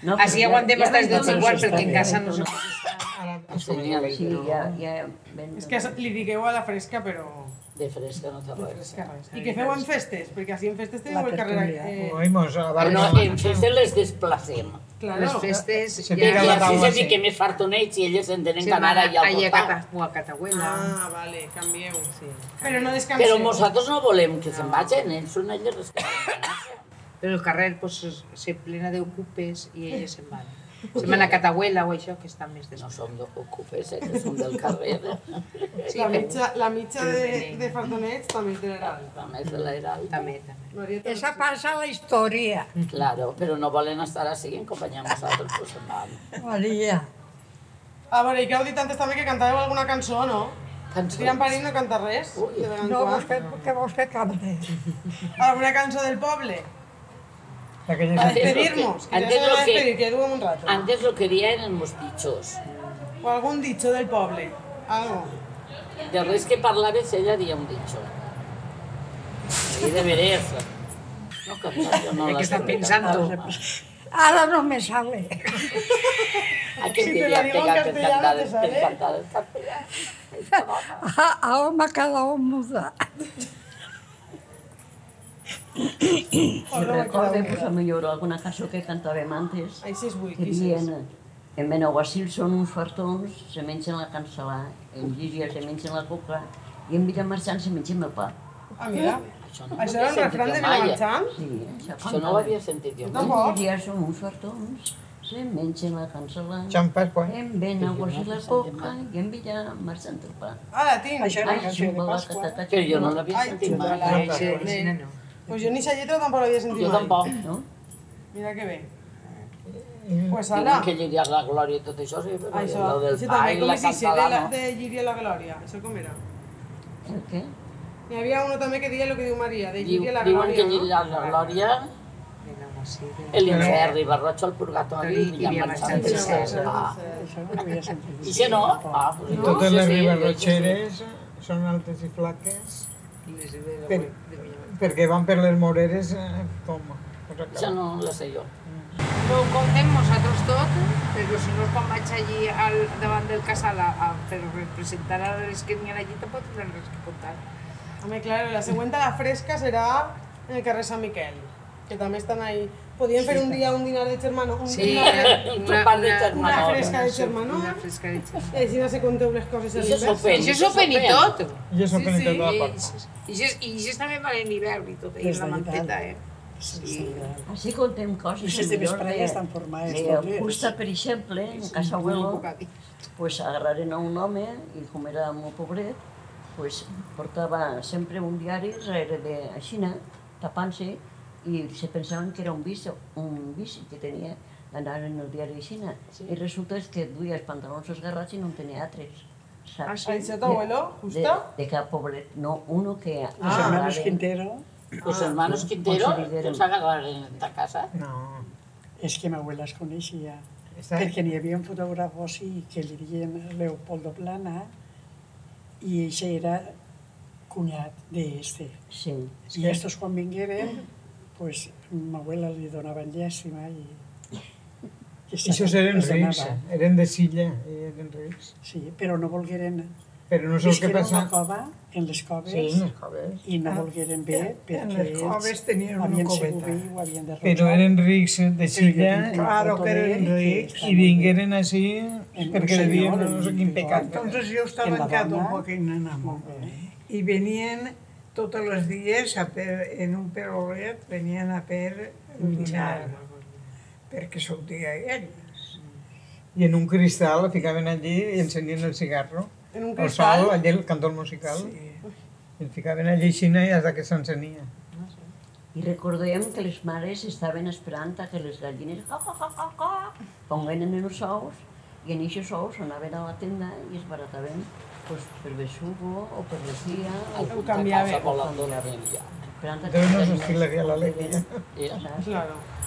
D: No, però
E: Així aguantem hasta les
D: ja
E: 12 i quart, perquè en casa no
D: Sí,
E: s'ha
D: ja, ja ven...
H: És que li digueu a la fresca, però...
G: De fresca no
H: De
G: t'agrada.
H: fresca res. I que feu en festes, perquè així en festes teniu
J: La
H: el carrer...
J: tertúlia.
H: Eh,
F: Oímos a la barra.
G: Bueno, en festes les desplacem.
H: claro.
E: Les festes...
F: Se
G: I
F: pica
E: ja-
F: la
G: així
F: taula,
G: se
F: sí.
G: fiquem els fartonets i elles en tenen
E: Sí,
G: que anar allà al
E: allà a
G: voltant.
E: Cata- o a Catahuela.
H: Ah, vale, canvieu. Però no descanseu.
G: Però nosaltres no volem que se'n vagin, ells són elles les que se'n vagin.
E: Però el carrer pues, es- se plena d'ocupes i elles se'n van. Se'n van a Catahuela o això, que està més
G: No
E: després.
G: som d'ocupes, elles són del carrer. eh?
E: Sí,
H: La
E: però-
H: mitja, la mitja de, de fartonets també és de l'Herald.
G: A més de l'heralda.
E: també, també.
H: Marieta,
C: Esa pasa la historia,
G: Claro, però no volen estar així en companyia amb nosaltres, pues se'n van.
C: María.
H: A veure, i que heu dit antes també que cantàveu alguna cançó, no? Tirant per ahí no canta res,
G: Ui.
H: de vegades.
C: No, vos
H: No,
C: que, que vos que cante.
H: alguna cançó del poble.
F: Aquella
H: A
G: Antes lo que-
H: despedirnos, que
G: antes
H: ya se
G: lo
H: van a
G: que-
H: despedir, que duem un rato.
G: Antes lo querían en los dichos.
H: O algún dicho del poble, algo.
G: De res que parlaves, ella dia un dicho. I de veres. No, que jo no
E: Què
G: la
E: està
G: sé.
E: pensant tu?
C: Ahora no me sale.
G: Aquell
H: Si
G: que
H: te
G: li
H: la
G: han
H: digo en
G: pegat per
H: castellano,
G: cantar,
H: te
G: per
H: sale.
G: cantar el castellà.
C: A- Ahora me ha quedado muda.
D: Si recorde, pues, a millor alguna cançó que cantàvem antes,
H: Així és
D: que
H: wiki, sí.
D: dient en Benaguasil són uns fartons, se mengen la cancel·là, en Llíria se mengen la coca, i en Villamarxant se mengen el pa.
H: Ah, mira.
G: Això no ho
H: Això
G: havia
H: era un
G: sentit
H: refrán de
G: jo mai, eh?
H: Vilamarxant?
D: Sí, això
G: Això no ho havia sentit jo mai.
H: No.
D: En Llíria són uns fartons, se mengen la cancel·là,
F: Xampes, quan?
D: en Benaguasil la coca i en Villamarxant el pa.
H: Ah, la tinc.
J: Això era
D: Ai,
J: cançó de
D: xumba la
J: Pasqua.
D: catata,
G: Però jo no
D: xumba
G: l'havia
H: Ai,
G: sentit
H: xumba,
G: mai.
H: la-
E: Ah, sí, sí, no, no.
H: Pues jo ni sa lletra tampoc l'havia sentit
G: Jo
H: mai.
G: tampoc.
D: la- No?
H: Mira que bé. Pues ara,
G: Diuen que hi hauria la glòria i tot això, sí, però
H: això,
G: allò del
H: això
G: pa
H: també,
G: i
H: com
G: la
H: es dice, de, la,
G: cantalana...
H: de Llíria la Glòria, això com era?
D: El què?
H: N'hi havia uno també que deia el que diu Maria, de
G: Diu-
H: Llíria la
G: Diuen que
H: Glòria, no?
G: lliria la glòria,
E: De la Mocilla.
G: l'infern, i barroig al purgatori,
E: I
G: i la marxant
E: Villamarxant del
G: del
E: cel.
G: cel. Ah,
J: Això no ho havia sentit.
G: I si no? Ah, pues, no,
F: Totes
G: sí,
F: les
G: sí,
F: ribarrotxeres són altes i flaques
E: Les de la-
F: per,
E: de Villamarxant.
F: perquè van per les moreres eh, com... Pues
G: Això
F: acaba.
G: no la sé jo.
E: No ho contem nosaltres tot, però si no quan vaig allí al, davant del casal a, a, per representar a les que n'hi ha allí tampoc tindran res que contar.
H: Home, claro, la següent a la fresca serà en el carrer Sant Miquel, que també estan ahí. Podien fer un dia un dinar de germano, un dinar de...
G: un sopar de germanor.
H: Una fresca de germanor.
E: Una fresca de germanor.
H: I així no se conteu les coses a
G: I se
H: l'invers.
G: sopen.
E: I això és open i tot.
F: I és el que
E: I
F: la porta.
E: això- i això també valen hivern i tot, i
J: Des
E: la
J: de
E: manteta,
J: Nadal.
E: eh? Sí.
D: Així contem coses.
J: Les de
D: millor
J: vesprada ja estan eh? formades,
D: De,
J: també.
D: de Custa, per exemple, en Casa Abuelo, pues, agarraren a un home, i com era molt pobret, pues, portava sempre un diari darrere de Xina, tapant-se, i se pensaven que era un vici, un vici que tenia d'anar en el diari de Xina. I resulta és que duia els pantalons esgarrats i no en tenia altres.
E: Ah,
D: Saps?
E: sí?
H: Això t'abuelo,
D: De,
H: justa?
D: de cap pobret, no, uno que...
E: Ah.
J: Los
D: agarraren-
J: hermanos Quintero,
G: Els hermanos Quintero,
D: Consideren.
G: els agarraren de casa.
F: No.
J: és que m'abuela es coneixia.
F: Està-
J: Perquè n'hi havia un fotògraf ossi que li diuen Leopoldo Plana i això era cunyat d'este.
D: Sí.
J: I estos quan vingueren,
F: Mm.
J: pues, m'abuela li donaven llàstima i... I
F: Això eren
J: els
F: rics, eh?
J: donava.
F: eren de silla, i eren rics.
J: Sí, però no volgueren
F: Però no sé el que
J: Visqueren a
F: passa...
J: la cova, en les coves,
F: Sí, en les coves.
J: i no volgueren bé
F: En
J: perquè
F: les coves
J: ells
F: tenien una
J: havien
F: coveta.
J: sigut bé i ho havien derrotat.
F: Però eren rics de Xilla,
J: tinc una
F: claro
J: foto
F: que eren
J: d'ell,
F: rics,
J: que
F: i vingueren així
J: un
F: perquè devien
J: senyor,
F: no sé
J: un rigor.
F: quin pecat.
O: Entonces yo estaba
J: En la
O: en Cadombo,
J: banda.
O: que en Enamo. Y venían todos los días a per, en un perrolet, venían a per
F: Un
O: un
F: dinar.
O: dinar, perquè sortia ells.
F: I en un cristal la ficaven allí i encenien el cigarro.
H: En un
F: El
H: cristal?
F: sol, allí el cantó musical. Sí. El ficaven allí xina i fins que s'encenia.
D: I recordem que les mares estaven esperant a que les gallines ca, ca, ca, ca, ca, ponguen en els ous i en aquests ous anaven a la tenda i es barataven pues, per besugo o per lesia o
G: Ho canviaven.
D: Esperant a que
F: Déu
D: les
F: nos
D: gallines-
F: hostilaria l'alegria.
G: Eh,
H: Claro.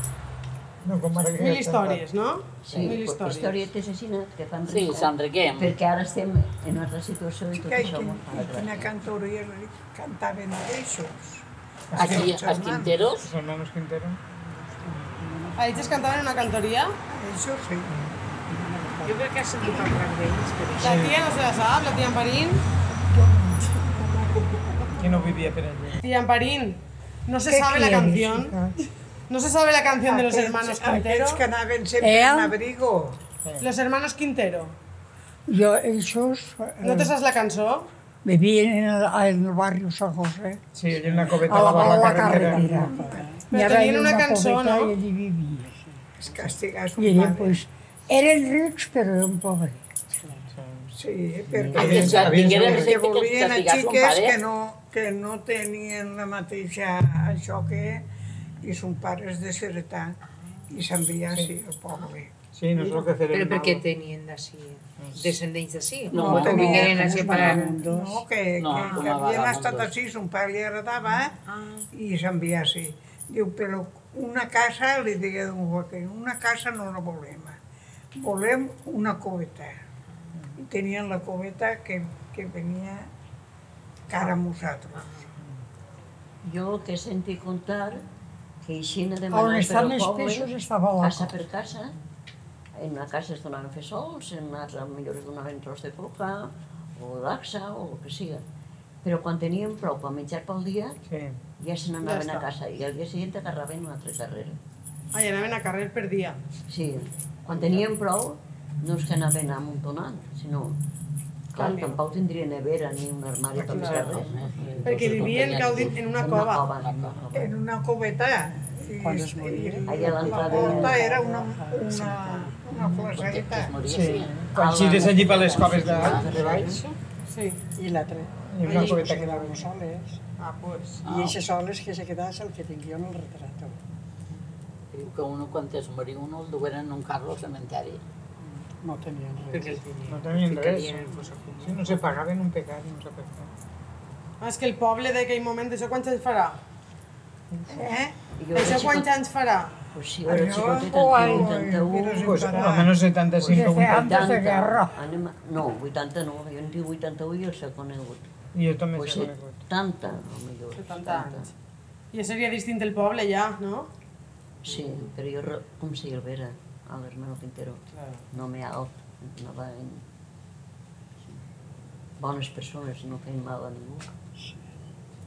F: No com ara que
D: Mil
F: ja està.
D: històries, no?
G: Sí,
D: pues,
G: Mil històries.
D: historietes així que fan
G: Sí,
D: riure.
G: s'enriquem.
D: Perquè ara estem en una altra situació i tot
O: Que,
D: això molt
O: i quina cantoria li cantaven ells.
G: Aquí, els Quinteros?
F: Els hermanos Quintero.
H: A ells es cantaven en una cantoria?
O: Això sí.
E: Jo crec que has sentit parlar d'ells, per
H: La tia no se la sap, la tia Amparín.
F: Que no vivia per allí.
H: Tía Amparín, no se
F: ¿Qué
H: sabe la
F: quieres,
H: canción. No se sabe la canción de los
O: Aquellos-
H: hermanos Quintero.
O: aquellos que anaven siempre ¿Eh? en
H: abrigo. Los hermanos Quintero.
O: Jo, ells...
C: eh,
H: ¿No
J: Eh.
H: te sabes la canción?
O: Vivien en el, en el barri San José.
F: Sí, allà en una coveta
O: A la
F: davant
O: Palau
F: la
O: a
F: carretera.
O: Carretera.
H: Però
O: Hi havia
H: tenien una cançó,
O: coveta
H: no?
O: I allí vivia. Els castigats
J: I ella,
O: pues, eren rics però eren pobres. Sí, perquè
G: Havien-
O: perquè
G: havien sigut
O: que
G: rics.
O: volien a
G: Castigats son
O: xiques
G: pares.
O: que no, que no tenien la mateixa això que i son pares de Ceretà i s'envia
E: Sí.
O: sí. al poble.
F: Sí, no és el que fer
E: Però
F: el
E: per què
F: malo.
E: tenien d'ací? Descendents d'ací?
O: No,
E: o
O: no,
E: vingueren
O: no,
E: així
O: no,
E: per...
O: no, que,
E: No,
O: no, que,
E: com
O: que
E: a
O: havien
E: vagabundos.
O: estat així, son pare li agradava
E: Ah,
O: i s'envia així. Diu, però una casa, li digué d'un Joaquín, una casa no la volem, volem una coveta. I tenien la coveta que, que venia cara a nosaltres.
D: Jo que senti contar que eixina de
J: On estan els peixos estava la
D: casa per casa, en una casa es donaven fesols, en una altra millor es donaven tros de coca, o d'axa, o el que siga. Però quan tenien prou per menjar pel dia,
F: sí.
D: ja se
H: Ja
D: n'anaven
H: està.
D: a casa i al dia siguiente agarraven una altra carrera.
H: Ay, anaven a carrer per dia.
D: Sí, quan tenien prou, no és que anaven amuntonant, sinó... Clar,
H: Canvia.
D: tampoc tindria nevera ni un armari per
H: Clar.
D: fer res.
H: Perquè vivien cal dir, en una cova.
O: En una coveta. I,
D: Quan es
O: i
D: morien. Allà a
O: la
D: l'entrada
O: porta
D: de-
O: era una, una, una flaseta.
F: Sí. Quan gires allí per les coves de, de baix,
H: Sí.
J: I l'altre.
F: I una coveta que
J: quedaven soles.
H: Ah, pues.
J: I aquestes soles que se quedava és el que tinc jo en el retrato.
G: Diu que uno cuando es morir uno lo duelen en un carro al cementerio.
J: No tenien res.
F: no tenien res. Sí, no se pagaven un pecat, no se pagaven.
H: Ah, és que el poble d'aquell moment, això quants anys farà? Eh?
F: Jo
H: Això
F: era
H: quants
F: xicot-
H: anys farà?
D: Pues
F: sí, jo era xicoteta, tenia 81. Uh, Pues, almenys 75 o 80.
D: Anem a- No, 80 no, jo en dic 81 i el s'ha conegut.
F: I jo també
D: Pues
F: s'ha conegut.
D: 70, o millor.
H: 70 anys. Ja seria distint el poble, ja, no?
D: Sí, però jo, re- com si el vera, a l'hermano Quintero. No me alt, anava en... Bones persones, no feien mal a ningú.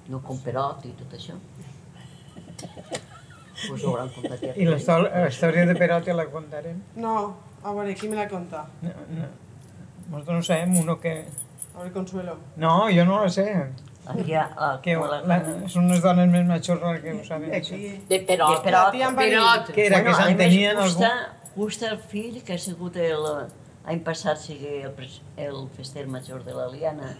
D: No com Perot i tot això. Us ho hauran contat ja.
F: I la histò- la història de Perote la contarem.
H: No, a veure, qui me la conta?
F: No, no. Nosaltres no sabem uno que...
H: A veure, Consuelo.
F: No, jo no la sé.
D: Aquí hi ha... ah,
F: Que la, són unes dones més matxorres que ho saben.
G: Aquí. De Perot.
D: De Perot.
G: Perot.
F: Que era que
D: a Ah, més,
F: s'entenien algú...
D: Justa, justa el fill que ha sigut el... L'any passat sigui el, pres- el fester major de l'Aliana.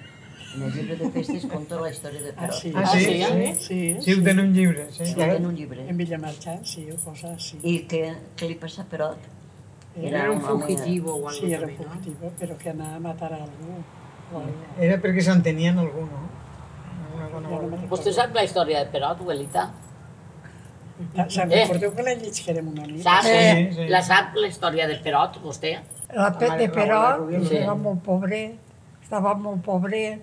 D: En el llibre de festes conta la història de Perot.
F: Ah, sí?
J: Sí,
F: Sí, ho tenen un llibre. Sí,
D: Sí, ho tenen un llibre.
J: En Villamarchant, sí, ho posa així.
D: I què, què li passa a Perot?
J: Sí, era un fugitivo, però que anava a matar a algú. O algo.
F: Era perquè s'entenien algú, no? Una dona
J: Jo no me'n
F: molt-
G: Vostè sap la història de Perot, abuelita?
J: Ta- Se'n
G: Eh.
J: Ah, recordeu que la llegisquerem una nit?
G: Sap, eh?
J: Sí, sí.
G: La sap la història de Perot, vostè?
O: La pe de Perot
G: Sí.
O: era molt pobret, estava molt pobret.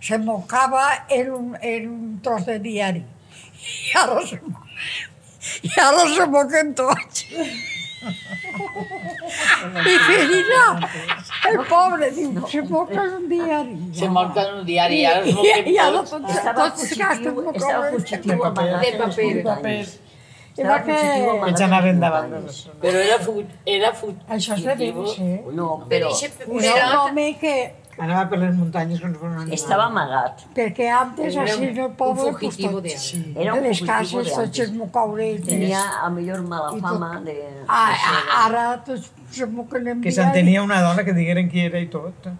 O: Se mocava en un, en un tros de diari. I ara se, mo- i ara se moquen tots. I Ferina,
J: El pobre diu, se moca en un diari.
G: Se marca en un diari, ara es
J: I, i ara
G: molt
J: tots,
D: Estava
J: tots es gasten
D: fugitiu,
J: molt
D: estava fugitiu amagat en els muntanyes.
J: I va que...
F: Vaig anar endavant.
G: Però era fut... Era fut...
J: Això és de BBC.
D: No,
G: però...
J: Era un home que...
F: Anava per les muntanyes que ens van animar.
D: Estava amagat.
J: Perquè antes,
D: Era
J: així,
D: un-
J: en el
D: un
J: poble, pues,
D: fugitivo de
J: tot, sí.
D: antes. Era
J: Era
D: un
J: les
D: fugitivo
J: cases,
D: de
J: tots
D: antes.
J: els mocauretes.
D: Tenia a millor mala
J: I tot.
D: fama de...
J: A,
D: de
J: a,
D: ser-
J: ara tots se moquen en
F: Que
D: eh?
F: s'entenia una dona que digueren qui era i tot.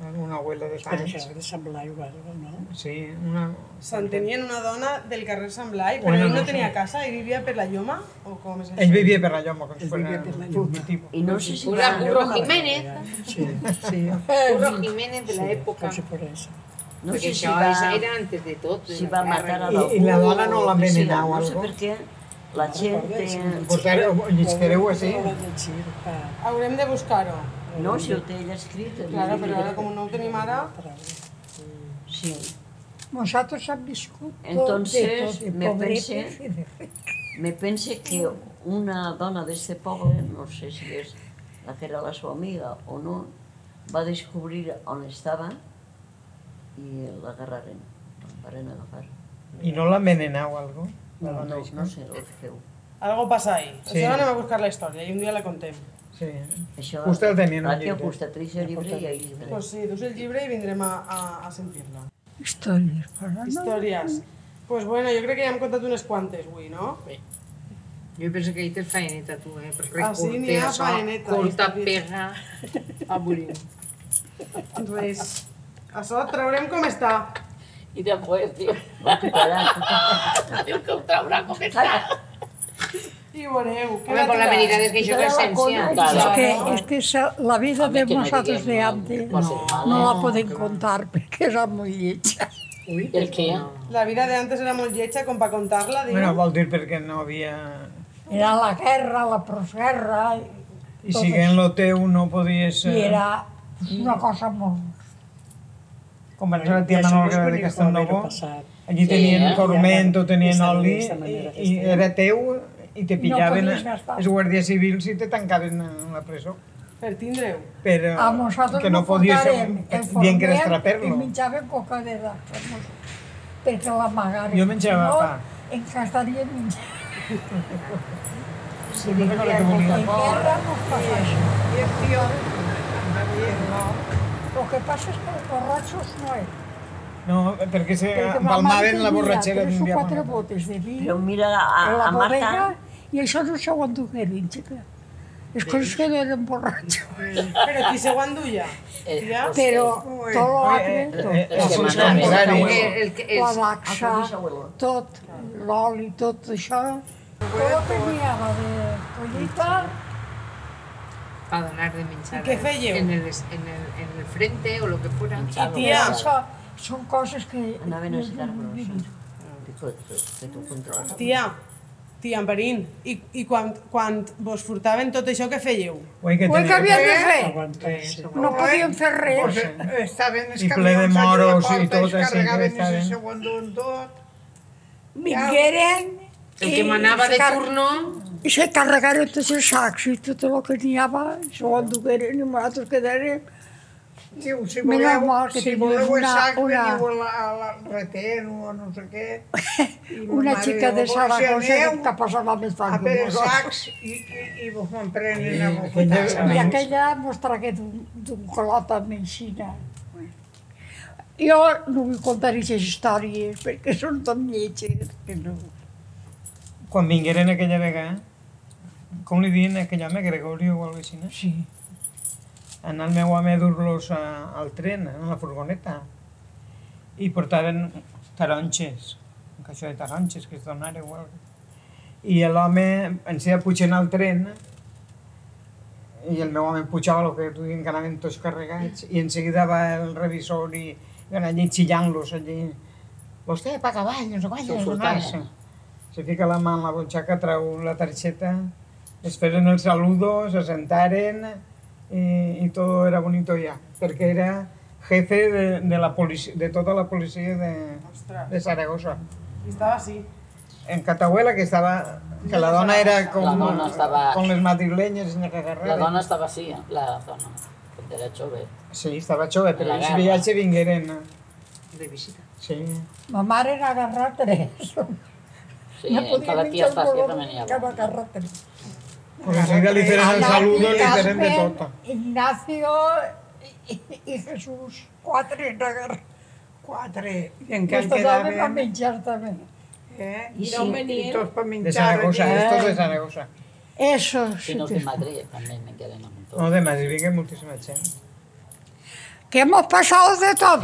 F: Una abuela de
J: Però
F: Sants.
J: això ha de semblar igual, no?
F: Sí, una...
H: S'entenien una dona del carrer Sant Blai, però
F: Bueno,
H: ell
F: no
H: no,
F: sé.
H: tenia casa, ell vivia per la Lloma, o com és això?
F: Ell vivia per la lloma, com si
H: Ell
F: fos
H: vivia per la lloma.
F: fugitivo.
D: I no sé si
E: Curro, Curro
D: Jiménez.
E: Jiménez.
J: Sí, sí.
E: Curro Jiménez de la època.
D: No
E: Perquè
D: sé si
E: això
D: va-
E: és- era antes de tot.
D: si va matar a
F: I-
D: l'algú.
F: i la dona no l'ha
D: o què serà,
F: envenenat o
D: No sé
F: algo?
D: per què la gent té...
F: Pues ara ho lliscareu així.
H: Haurem de buscar-ho.
D: No, si ho té ella escrit.
H: Claro, però ara com no ho tenim ara...
D: Sí.
J: Nosaltres hem viscut tot, de tot,
D: Entonces,
J: de
D: me
J: pobretes i
D: pensé,
J: de
D: me pensé que una dona de este poble, no sé si es la que era la su amiga o no, va descobrir on estava i l'agarraren, la varen agafar.
F: I no l'envenenau, algo? La
D: No,
F: dona
D: no,
F: això.
D: no sé el que feu.
H: Algo passa ahí. Sí.
F: Sí.
H: Això anem a buscar la història i un dia la contem.
F: Sí.
D: Això,
F: Vostè el tenia en un
D: aquí al
F: llibre.
D: costat, treix el llibre i ahí.
H: Pues sí, dus el llibre i vindrem a, a, a sentir-la.
J: Històries, però
H: Històries. Pues bueno, jo crec que ja hem contat unes quantes avui, no? Sí.
E: Jo penso que ahí tens faeneta, tu, eh? Per
H: Ah, sí, n'hi ha faeneta,
E: Corta,
H: ahí està
E: pega, abolim.
H: Res. Això traurem com està.
G: I després, tio... Diu que ho traurà com està.
H: I veureu. què
E: Home,
H: va
E: con la
H: tirar.
E: veritat és que això és l'essència.
J: Es
E: Claro.
J: que, es que esa- la vida de nosotros de antes no, no la pueden contar porque era muy hecha.
G: El què?
H: La vida de antes era molt lletja com per contar-la, diu.
F: Bueno, vol dir perquè no havia...
J: Era la guerra, la posguerra,
F: I
J: Tot
F: si en lo teu no podies...
J: i
F: eh,
J: era pues, una cosa molt...
F: Com van ser la tia Manolga de Castellnovo, allí
J: Sí,
F: tenien
J: eh?
F: corromento, tenien
J: Aquesta-
F: oli,
J: d'aquesta
F: i,
J: manera,
F: i
J: aquesta.
F: era teu i te
J: No
F: pillaven
J: podies gastar.
F: els guàrdies civils i te tancaven en la presó.
H: Per tindre-ho.
F: Però
J: A nosaltres
F: que no
J: no
F: podies
J: contarem,
F: eh,
J: el
F: dient que
J: forníem
F: eres
J: i
F: traper-lo.
J: menjàvem coca de dacos perquè l'amagàvem.
F: Jo menjava
J: no,
F: pa.
J: En castaria menjar.
D: Si
F: No recordo què volia.
J: En guerra no passa això. I el tio no. Lo que pasa es que los borrachos no eran.
F: No, perquè se
J: Perquè ma mare
F: empalmaven la
J: tenia
F: borratxera
J: tres
F: d'un
J: o
F: dia a
J: quatre
F: l'altre.
J: botes de vi
D: Però mira, a,
J: en la
D: a Marta...
J: bodega i això no se ho endugueren, xica. És que els que no eren borratxos.
H: Però qui se ho enduia? Ja?
J: Però
H: Ui.
J: tot l'altre,
H: Eh, eh,
J: tot.
H: eh, eh, els seus contraris. Eh, el que- els-
J: La
H: el
J: laxa,
H: que deixa-ho.
J: tot, l'oli, tot això. Tot el que n'hi havia de collita,
E: Para donar de minchar.
J: ¿Y qué feo?
E: En el, en, el, en el frente o lo que fuera.
J: i tia, això són coses que...
D: Anaven a citar brossa. Que, que, que tu controles.
H: Tia, tia Amperín, i, i quan, quan vos furtaven tot això, què fèieu?
F: Ui, que
H: Ui, que
F: tenia-
H: havien de fer.
J: No podíem fer res.
F: Pues,
O: eh, estaven els
F: I ple de
O: camions allà a la
F: moros i
O: porta,
F: tot,
O: es
F: així que
O: carregaven i
F: estaven...
O: se ho enduen tot.
J: Vingueren...
E: El que manava de turno...
J: I se carregaren tots els sacs i tot el que n'hi havia, se ho endugueren i nosaltres quedàrem...
O: Diu, si
J: Menys
O: voleu,
J: mal que
O: si
J: tenim
O: voleu el
J: una-
O: sac,
J: una-
O: veniu a la, a la retén o no sé què. I ma
J: Una
O: mare
J: xica
O: diu,
J: de
O: "Vos
J: Saragossa
O: eh, aneu
J: que passava més
O: A
J: fang.
O: per els sacs i, i, i vos me'n prenen a bofetades.
J: I aquella mos tragué d'un d'un colot amb enxina. Jo no vull contar aquestes històries perquè són tan lletges que no.
F: Quan vingueren aquella vegada, com li diuen a aquell home, Gregorio o alguna cosa
J: Sí.
F: Anar el meu home a dur-los a- al tren, en la furgoneta, i portaven taronxes, un caixó de taronxes que es donaren o alguna I l'home ens ia pujant al tren, i el meu home pujava el que tu diuen que anaven tots carregats, i en seguida va el revisor i van allí xillant-los allí. Vostè paga avall, no sé
G: Se ho
F: quant,
G: furtaven.
F: no se fica la mà en la butxaca, treu la targeta, es feren el saludo, se sentaren i, i tot era bonito ja, perquè era jefe de, de, la policia, de tota la policia de, de Saragossa.
H: I estava així. eh?
F: En Catahuela, que estava que la dona era com,
G: La dona estava-
F: com les madrilenyes en la que
G: La dona estava així, eh? la dona. Era jove.
F: Sí, estava jove, però
G: La
F: ells
G: guerra.
F: viatge vingueren. eh,
G: De visita.
F: Sí.
J: Ma mare n'ha agarrat tres.
G: Sí, encara
J: menjar
G: tia
J: un
G: Estàcia
J: boló
G: també n'hi
J: que
G: ha.
J: va agarrar tres.
F: Pues així que li feren el
J: Ana,
F: saludo, li feren de
J: Carmen,
F: tota.
J: Ignacio i, i- i Jesús. Quatre n'ha agarrat. Quatre.
O: I en què en
J: quedaven?
O: quedaven?
J: Per menjar també.
O: Eh?
J: I
O: I,
J: sí,
O: no
J: i
O: venien.
J: tots per
F: De Saragossa,
J: Eh.
F: estos de Saragossa.
J: Eso,
G: Si no és de Madrid, també me queden a muntó.
F: No, de Madrid vingué moltíssima gent.
J: Que hemos pasado de tot.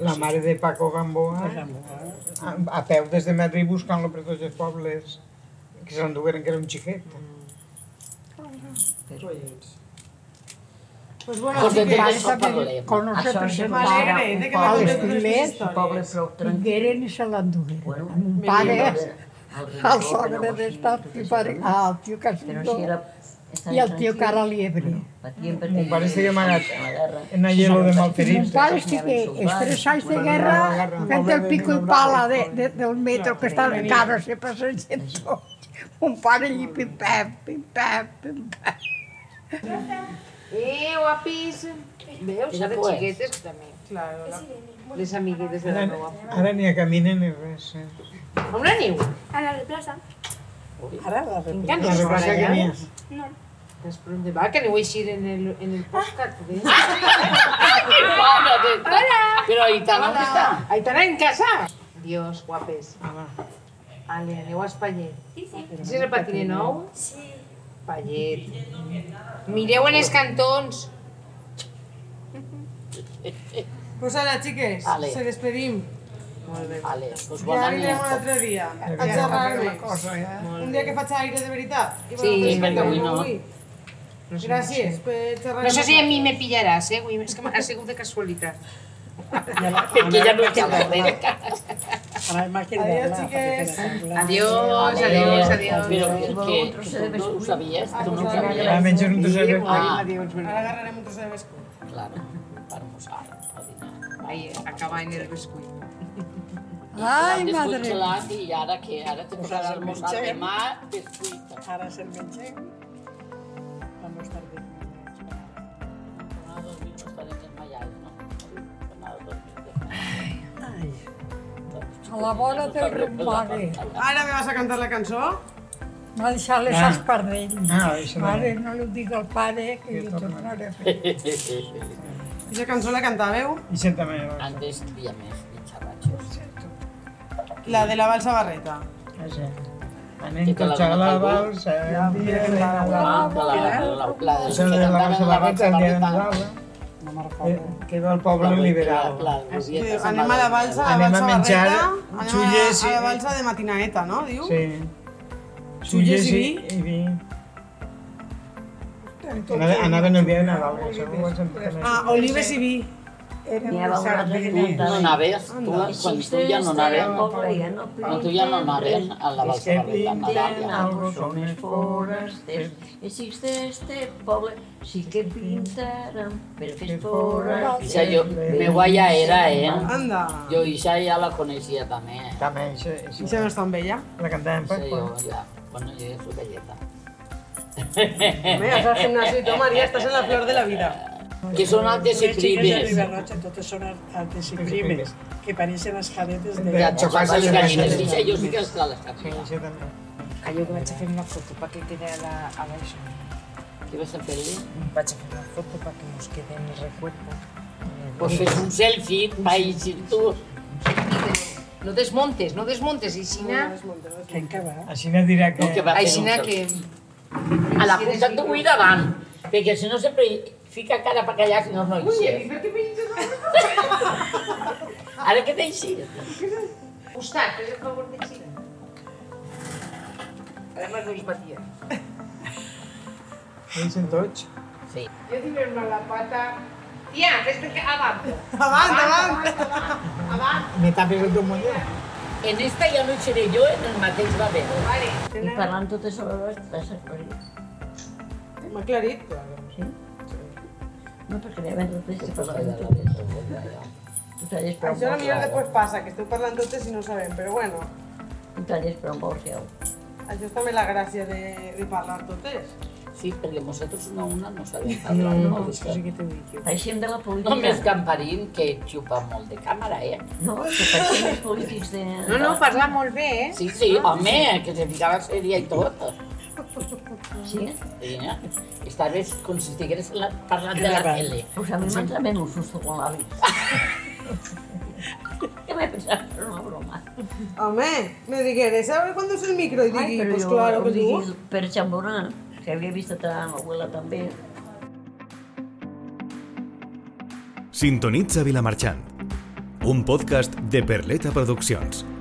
F: La mare de Paco Gamboa, a, a peu des de Madrid buscant-lo per tots els pobles que s'endugueren, que era un xiquet.
H: Pues bueno,
F: Pues
H: así
F: de
H: que
F: Terrassa
H: esa
F: parlem.
H: peli-
J: Con nosotros
H: Me alegre, eh, de que me contes totes les
J: Anglès,
H: històries.
J: vingueren i se l'endugueren. Bueno, un
D: mi
J: pare,
D: vida.
J: el sogre d'estar, i pare, ah, el tio Casimiro,
D: si era-
J: i el tio Cara Liebre.
D: Patien per
F: Mon pare estigué amagat
J: Sí,
F: en una hielo de
J: sí,
F: malferits.
J: Mon pare estigué els tres anys de guerra fent el pico i pala de, de, del metro que estava cara, se passeja tot. Mon pare allí pim-pam, pim-pam, pim-pam.
E: Eh, guapis. Veus,
G: Mira,
E: ara
G: pues.
E: xiquetes també. Claro, la... les amiguetes de la nova.
F: Ara ni a caminen ni res. Eh?
E: On aneu?
P: A la plaça.
E: Ara la replaça.
F: La replaça que n'hi ha.
P: No.
E: Doncs per on va, que aneu a eixir en el, en el podcast. Eh?
G: Hola. Però Aitana, on està?
E: Aitana en casa. Dios, guapes. Ale, aneu a Espallet.
P: Sí, sí.
E: És el patiner nou?
P: Sí.
E: Espallet. Mireu en els cantons.
H: Pues ala, xiques,
G: Ale.
H: se despedim.
G: Molt bé. Vale, pues doncs
H: ja
G: bona
H: anirem un
G: nit.
H: altre dia, a
G: Ja,
H: xerrar
G: la cosa, ja.
H: més. Un dia que faig aire de veritat.
G: Sí,
H: I vosaltres
G: perquè avui no.
H: avui. Gràcies per xerrar
E: No sé
H: amb
E: si a
H: nosaltres.
E: mi me pillaràs, eh? avui. És que m'ha sigut de casualitat.
G: Que ja no hi ha res.
E: Adiós, xiques.
G: Adiós,
E: adiós, adiós.
G: Però que, que, que tu no ho sabies, tu no ho sabies.
F: Ah, menys un trosset de
G: Ah,
H: Ara agarrarem un tros de bescut.
G: claro, per mosar.
E: Ai, acaba en el bescuit.
G: Ai,
E: madre.
G: Gelat, I ara què? Ara te posarà el mosar
E: mengem.
G: demà, bescuita. Ara se'l mengem. Vamos tarde. Tornado a dormir, no estaré desmayado, no? Tornado a dormir, desmayado. Ai.
J: A la vora del Romagui.
H: Ara me vas a cantar la cançó?
J: M'ha deixat les
H: Ah.
J: espardells.
H: Ah, això no.
J: Mare, no li ho dic al pare, que li tornaré a fer.
H: Aquesta cançó la cantàveu?
F: I sent també.
G: Antes hi havia més de xarratxos.
H: La de la balsa barreta.
F: Anem tots a la balsa, el dia de la balsa. Això de la balsa barreta, el dia de Nadal. eh? Eh, Que va el poble liberal.
H: Sí, anem a la balsa, a la
F: Anem a
H: balsa
F: menjar
H: barreta,
F: xulles
H: anem a, a la
F: i-
H: balsa de matinaeta, no? Diu?
F: Sí.
H: Xulles i
F: i vi. Anava- Anaven el dia de Nadal, que segur que ens en fem
H: Ah,
F: això.
H: olives i vi.
G: N'hi ha unes sardinetes. No anaves? Tu, quan tu ja no anaves? Quan tu ja no anaves a la
F: Es que
G: balsa barreta, a Nadal,
D: pinten
G: ja.
D: algo són els forasters. Existe este poble, sí que pintaran, però que és forasters.
G: Ixa, jo, me guaya era, eh?
H: Anda.
G: Jo ixa ja la coneixia també.
F: També, ixa,
H: I se no és tan vella.
F: La cantàvem per
G: Sí, jo
F: por.
G: ja. Bueno, jo ja soc velleta.
H: Home, has al gimnasio i tu, Maria, estàs en la flor de la vida.
G: Que són altes i
Q: Les xiques de
G: primes.
Q: Ribarroja totes són altes i primes, que pareixen les cadetes de...
G: Ja, xocar-se les gallines. Ixa, jo sí que
Q: les
G: està a les capelles.
F: Sí, també.
E: Allò que vaig a fer una foto perquè quede a la, a l'això.
G: Què vas a fer-li?
E: Vaig a fer una foto perquè mos quede en el recuerdo.
G: Pues fes un selfie, va, i si tu...
E: No desmontes, no desmontes, Ixina. Que encara.
F: Així no dirà que...
E: Aixina que...
G: A la punta t'ho vull davant, perquè si no sempre fica cara per allà, si no, no hi sé.
E: per què penges?
G: Ara que t'eixi.
E: Costat, fes el favor d'Ixina. Ara m'has de patia.
F: Deixen tots?
G: Sí.
E: Jo diverno la pata... Tia, fes de que avant.
H: Avant,
E: avant. Avant.
F: Me tapes el teu muller.
G: En esta ja no hi seré jo, en el mateix va bé.
E: Vale.
D: I parlant totes hores, t'has aclarit.
H: M'ha aclarit, però...
D: Sí? No, perquè ja vam repetir parlant Tu talles per un
H: Això la millor
D: bosc,
H: després passa, que esteu parlant totes i no sabem, però bueno,
D: tu talles per un bosc,
H: això és també la gràcia de, de parlar totes.
G: Sí, perquè nosaltres una a una no sabem
Q: No,
G: parlar.
Q: no,
E: pues,
Q: això sí que t'ho dic jo.
D: Paixem de la política.
G: Només Gamparín, que xupa molt de càmera, eh?
D: No, que paixem els polítics de...
E: No, no, parla molt bé, eh?
G: Sí, sí, home, que se ficava sèria i tot.
D: Sí?
G: Sí, eh? Estaves com si estigués la- parlant de la tele.
D: Pues a mi m'han trament un susto con la vida. Què m'he pensat? Però una broma.
H: Home, me digueres, a veure quan és el micro i digui, pues claro,
D: ho
H: pues tu.
D: digui per Xamborà, que havia vist a ta abuela també.
B: Sintonitza Vilamarxant, un podcast de Perleta Produccions.